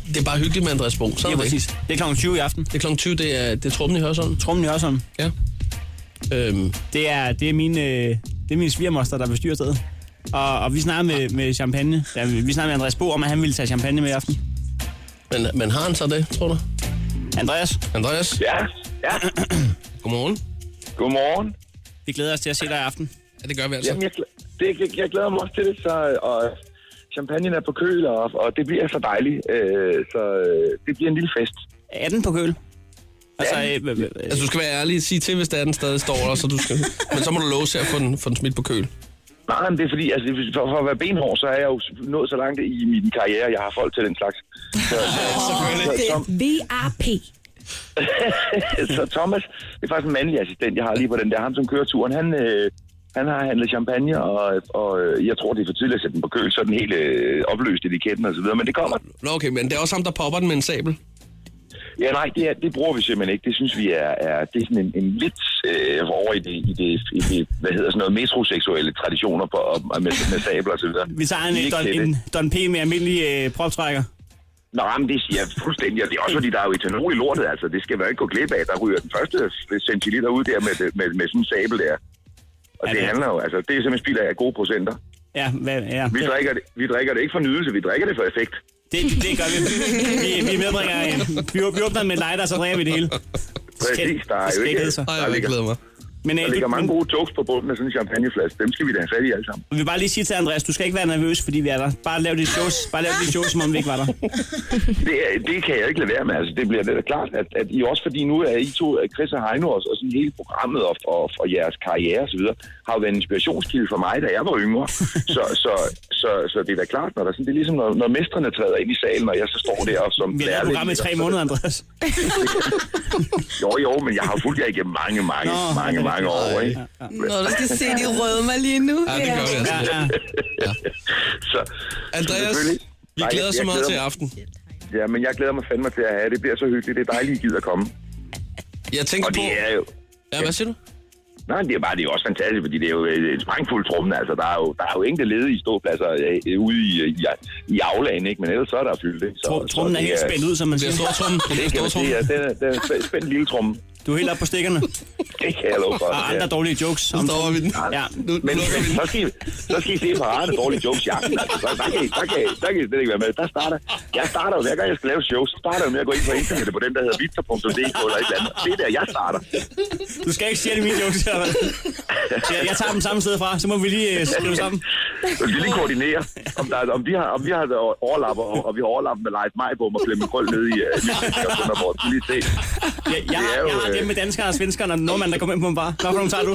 [SPEAKER 3] det er bare hyggeligt med Andreas Bo. Sådan
[SPEAKER 4] Ja,
[SPEAKER 3] er det.
[SPEAKER 4] præcis. Det er kl. 20 i aften.
[SPEAKER 3] Det er kl. 20, det er, det er trummen i Hørsholm.
[SPEAKER 4] Trummen i Hørsholm.
[SPEAKER 3] Ja. Øhm.
[SPEAKER 4] Det er, det er mine, øh, det er mine svigermoster, der bestyrer stedet. Og, og vi snakker med, med champagne. Ja, vi vi snakker med Andreas Bo om, at han ville tage champagne med i aften.
[SPEAKER 3] Men, men har han så det, tror du?
[SPEAKER 4] Andreas?
[SPEAKER 3] Andreas?
[SPEAKER 4] Ja.
[SPEAKER 3] Ja. Godmorgen.
[SPEAKER 15] Godmorgen.
[SPEAKER 4] Vi glæder os til at se dig i aften.
[SPEAKER 3] Ja, det gør vi altså.
[SPEAKER 15] Jamen, jeg, glæ- det, jeg, jeg glæder mig også til det, så, og champagnen er på køl, og, og det bliver så dejligt. Øh, så øh, det bliver en lille fest.
[SPEAKER 4] Er den på køl? Altså, øh, øh, øh,
[SPEAKER 3] Altså, du skal være ærlig og sige til, hvis der er den stadig står der, så du skal... Men så må du love til at få den, få den smidt på køl.
[SPEAKER 15] Nej, men det er fordi, altså, for, for at være benhård, så er jeg jo nået så langt i min karriere, jeg har folk til den slags. Så, så, så, så,
[SPEAKER 11] VRP.
[SPEAKER 15] så Thomas, det er faktisk en mandlig assistent, jeg har lige på den der. Ham, som kører turen, han, øh, han har handlet champagne, og, og øh, jeg tror, det er for tidligt at sætte den på køl, så er den helt øh, opløst etiketten og så videre, men det kommer.
[SPEAKER 3] Nå, okay, men det er også ham, der popper den med en sabel.
[SPEAKER 15] Ja, nej, det, er, det bruger vi simpelthen ikke. Det synes vi er, er det er sådan en, en lidt øh, over i det, i det, i det, hvad hedder sådan noget, metroseksuelle traditioner på, og, og med, med sabler og så videre.
[SPEAKER 4] vi tager en,
[SPEAKER 15] Vi er ikke
[SPEAKER 4] øh, Don,
[SPEAKER 15] til det.
[SPEAKER 4] en Don P. med almindelig øh, proptrækker.
[SPEAKER 15] Nå, men det siger jeg fuldstændig, og det er også fordi, der er jo etanol i lortet, altså. Det skal man jo ikke gå glip af. Der ryger den første centiliter ud der med, med, med sådan en sabel der. Og det handler jo, altså, det er simpelthen spild af gode procenter.
[SPEAKER 4] Ja, hvad, ja.
[SPEAKER 15] Vi drikker, det, vi drikker det ikke for nydelse, vi drikker det for effekt.
[SPEAKER 4] Det, det gør vi. Vi, vi medbringer, øh, vi, åb- vi åbner den med en lighter, og så drikker vi det hele.
[SPEAKER 15] Præcis, der er
[SPEAKER 4] det
[SPEAKER 15] jo
[SPEAKER 4] skal
[SPEAKER 15] ikke...
[SPEAKER 4] ikke hedde sig. Ej, jeg
[SPEAKER 3] glæder mig.
[SPEAKER 4] Men, øh,
[SPEAKER 15] der
[SPEAKER 4] du-
[SPEAKER 15] ligger mange
[SPEAKER 4] men-
[SPEAKER 15] gode jokes på bunden af sådan en champagneflaske. Dem skal vi da have fat i alle sammen.
[SPEAKER 4] Vi vil bare lige sige til Andreas, du skal ikke være nervøs, fordi vi er der. Bare lav dit shows, bare lav dit shows som om vi ikke var der.
[SPEAKER 15] Det, er- det kan jeg ikke lade være med. Altså, det bliver da klart, at, at I også, fordi nu er I to, øh, Chris og Heino, og, og sådan hele programmet og, og, og jeres karriere osv., har jo været en inspirationskilde for mig, da jeg var yngre. Så, så, så, så det er da klart, når der sådan, det er ligesom, når, når mestrene træder ind i salen, og jeg så står der og som
[SPEAKER 4] Vi har lavet
[SPEAKER 15] lærling,
[SPEAKER 4] programmet i tre
[SPEAKER 15] og så-
[SPEAKER 4] måneder, Andreas.
[SPEAKER 15] Jo, jo, men jeg har jo fulgt jer igennem mange, mange,
[SPEAKER 4] Nå,
[SPEAKER 15] Nå, mange, mange år, ikke?
[SPEAKER 12] Nå, du skal se de røde mig lige nu.
[SPEAKER 3] Ja, det gør vi altså.
[SPEAKER 4] Ja,
[SPEAKER 15] Så,
[SPEAKER 3] Andreas,
[SPEAKER 15] selvfølgelig.
[SPEAKER 3] vi
[SPEAKER 15] Nej,
[SPEAKER 3] glæder os
[SPEAKER 15] jeg-
[SPEAKER 3] så
[SPEAKER 15] jeg
[SPEAKER 3] meget til
[SPEAKER 15] glæder
[SPEAKER 3] i
[SPEAKER 15] mig.
[SPEAKER 3] aften.
[SPEAKER 15] Ja, men jeg glæder mig fandme til at have det. Det bliver så hyggeligt. Det er dejligt, I gider at komme.
[SPEAKER 3] Jeg tænker
[SPEAKER 15] og det
[SPEAKER 3] på-
[SPEAKER 15] Er jo...
[SPEAKER 3] Ja, hvad siger du?
[SPEAKER 15] Nej, det er bare det er også fantastisk, fordi det er jo øh, en sprængfuld trummen. Altså, der er jo, der er jo enkelte ledige ståpladser øh, øh, ude i, øh, i, i aflagen, ikke? Men ellers så er der fyldt, ikke? Så,
[SPEAKER 4] Trummen er
[SPEAKER 15] det
[SPEAKER 4] helt spændt ud, som man
[SPEAKER 3] Det
[SPEAKER 4] siger.
[SPEAKER 3] er stortrummen.
[SPEAKER 15] Det kan jeg sige, ja. Den er, den er spændt, spændt lille trumme.
[SPEAKER 4] Du er helt oppe på stikkerne.
[SPEAKER 15] Det kan jeg love for.
[SPEAKER 4] Og andre dårlige jokes. Om
[SPEAKER 3] Står vi den?
[SPEAKER 4] Ja.
[SPEAKER 15] Men så skal, I, så skal I se paraderne dårlige jokes i aften. Altså, så- der, kan I, der, kan I, der kan I slet ikke være med. Der starter, jeg starter jo, hver gang jeg skal lave shows, så starter jeg med at gå ind på internettet på den, der hedder vitser.dk eller et eller andet. Det er der, jeg starter.
[SPEAKER 4] Du skal ikke sige det mine jokes. eller hvad? Jeg, jeg tager dem samme sted fra, så må vi lige øh, skrive sammen.
[SPEAKER 15] Så vi lige koordinere, om, der, er- om, vi har, om vi har overlapper, og, og vi har overlapper med Leif Majbom og Flemming Krøl nede i uh, Nyhedsgårdsundabord. Lige se.
[SPEAKER 4] Jeg, jeg,
[SPEAKER 15] Det
[SPEAKER 4] har,
[SPEAKER 15] er jo,
[SPEAKER 4] jeg har
[SPEAKER 15] øh,
[SPEAKER 4] Ah, det med danskere og svenskere, og nordmænd, der kommer ind på en bar. Hvad for nogle tager du?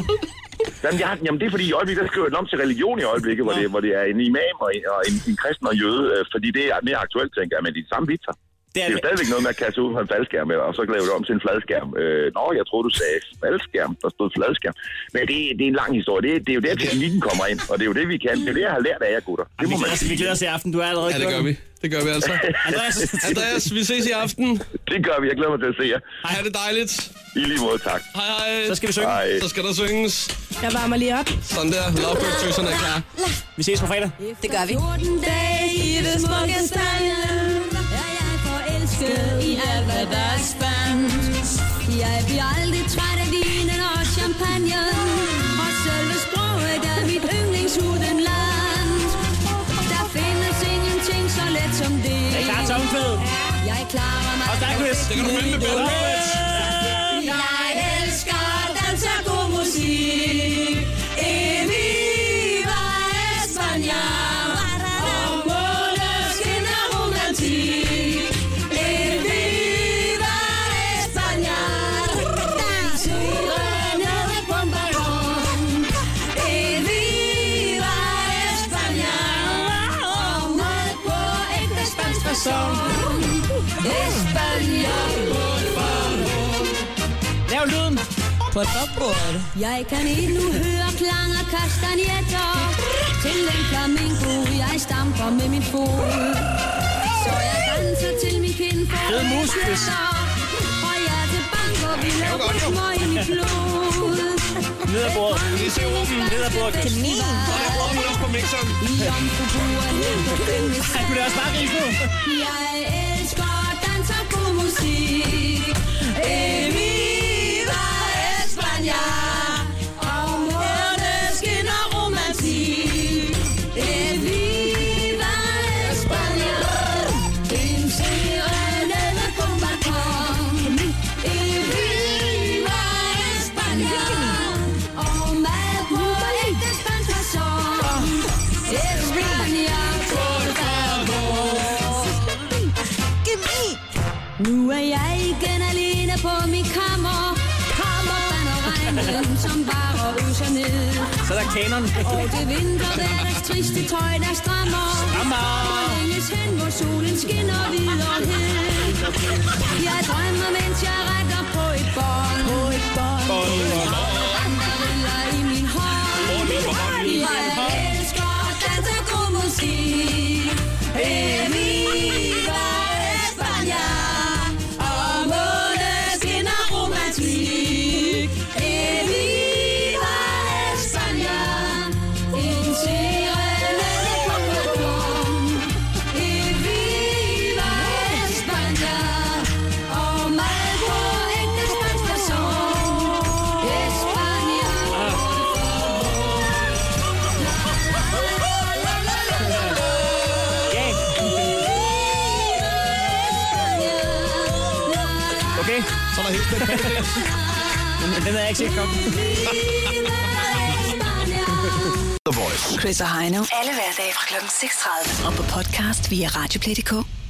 [SPEAKER 15] Jamen, jeg, har- jamen, det er fordi, i øjeblikket, der skriver den om til religion i øjeblikket, hvor det, hvor det er en imam og en, og en, en kristen og jøde, øh, fordi det er mere aktuelt, tænker jeg, men de er de samme vitser.
[SPEAKER 4] Det
[SPEAKER 15] Det
[SPEAKER 4] er
[SPEAKER 15] er, det er jo stadigvæk noget med at kaste ud fra en faldskærm, eller- og så lave det om til en fladskærm. Øh, nå, jeg troede, du sagde faldskærm. Der stod fladskærm. Men det, det er en lang historie. Det, det er jo der, teknikken kommer ind, og det er jo det, vi kan. Det er jo det, jeg har lært af jer, gutter. Det
[SPEAKER 4] Vi
[SPEAKER 15] må man
[SPEAKER 4] glæder, os, vi
[SPEAKER 15] sige.
[SPEAKER 4] glæder os i aften. Du er allerede
[SPEAKER 3] Ja, det gør
[SPEAKER 4] kørt.
[SPEAKER 3] vi. Det gør vi altså.
[SPEAKER 4] Andreas.
[SPEAKER 3] Andreas, vi ses i aften.
[SPEAKER 15] Det gør vi. Jeg glæder mig til at se jer.
[SPEAKER 3] Ha' det dejligt.
[SPEAKER 15] I lige måde, tak.
[SPEAKER 3] Hej, hej.
[SPEAKER 4] Så skal vi synge.
[SPEAKER 15] Hej.
[SPEAKER 3] Så skal der synges.
[SPEAKER 11] Jeg varmer lige op.
[SPEAKER 3] Sådan der. Lovebird-tøserne er klar.
[SPEAKER 4] Vi ses på fredag.
[SPEAKER 12] Det gør vi.
[SPEAKER 16] 14 dage i det smukke Spanien Er jeg forelsket i alt, hvad der er spandt Jeg bliver aldrig træt af vinen og champagne Og selve sproget er mit yndlingshudenland Der findes ingenting så let som det
[SPEAKER 4] Er I klar til omkvædet?
[SPEAKER 16] Jeg klarer mig
[SPEAKER 4] Og tak, Chris. Det kan du finde med
[SPEAKER 16] Jeg elsker at danse god musik E viva España Og måneskin
[SPEAKER 13] På topbordet.
[SPEAKER 16] Jeg kan ikke nu høre klang af kastanjetter Til den flamingo, jeg stamper med min fod Så jeg danser til min kind for
[SPEAKER 4] Fed muskvis.
[SPEAKER 16] Og jeg er til banker, vi laver små i mit blod
[SPEAKER 4] Ned ad bordet. Vi ser åben. Ned ad bordet. Kanin. på mixeren. Ej, kunne det også bare grine på?
[SPEAKER 16] Jeg elsker dans og god musik Emiva Espanja Og måneskin og romantik Emiva Espanja En serenade på balkon Emiva Espanja Og mad på ægte spansk fasong
[SPEAKER 4] er
[SPEAKER 16] Espanja por favor Giv Nu er jeg igen alene på min kammer. Kammer brænder regnen, som bare øser ned.
[SPEAKER 4] Så er der kanon.
[SPEAKER 16] Og det vintervejrs triste tøj, der strammer.
[SPEAKER 4] Strammer.
[SPEAKER 16] Og længes hen, hvor solen skinner videre Jeg drømmer, mens jeg rækker på et bånd. På et bånd. Andre riller i min hånd. Jeg elsker at danse god musik. Emiva Espanja. Og måneskin og romantik. Emiva Espanja. En serenade på balkon. Emiva Espanja. Og mad på ægte spansk façon. Espanja, por favor.
[SPEAKER 4] Okay. Så er der helt Den havde jeg ikke set komme.
[SPEAKER 2] The Voice. Chris og Heino. Alle hverdage fra kl. 6.30. Og på podcast via Radioplay.dk.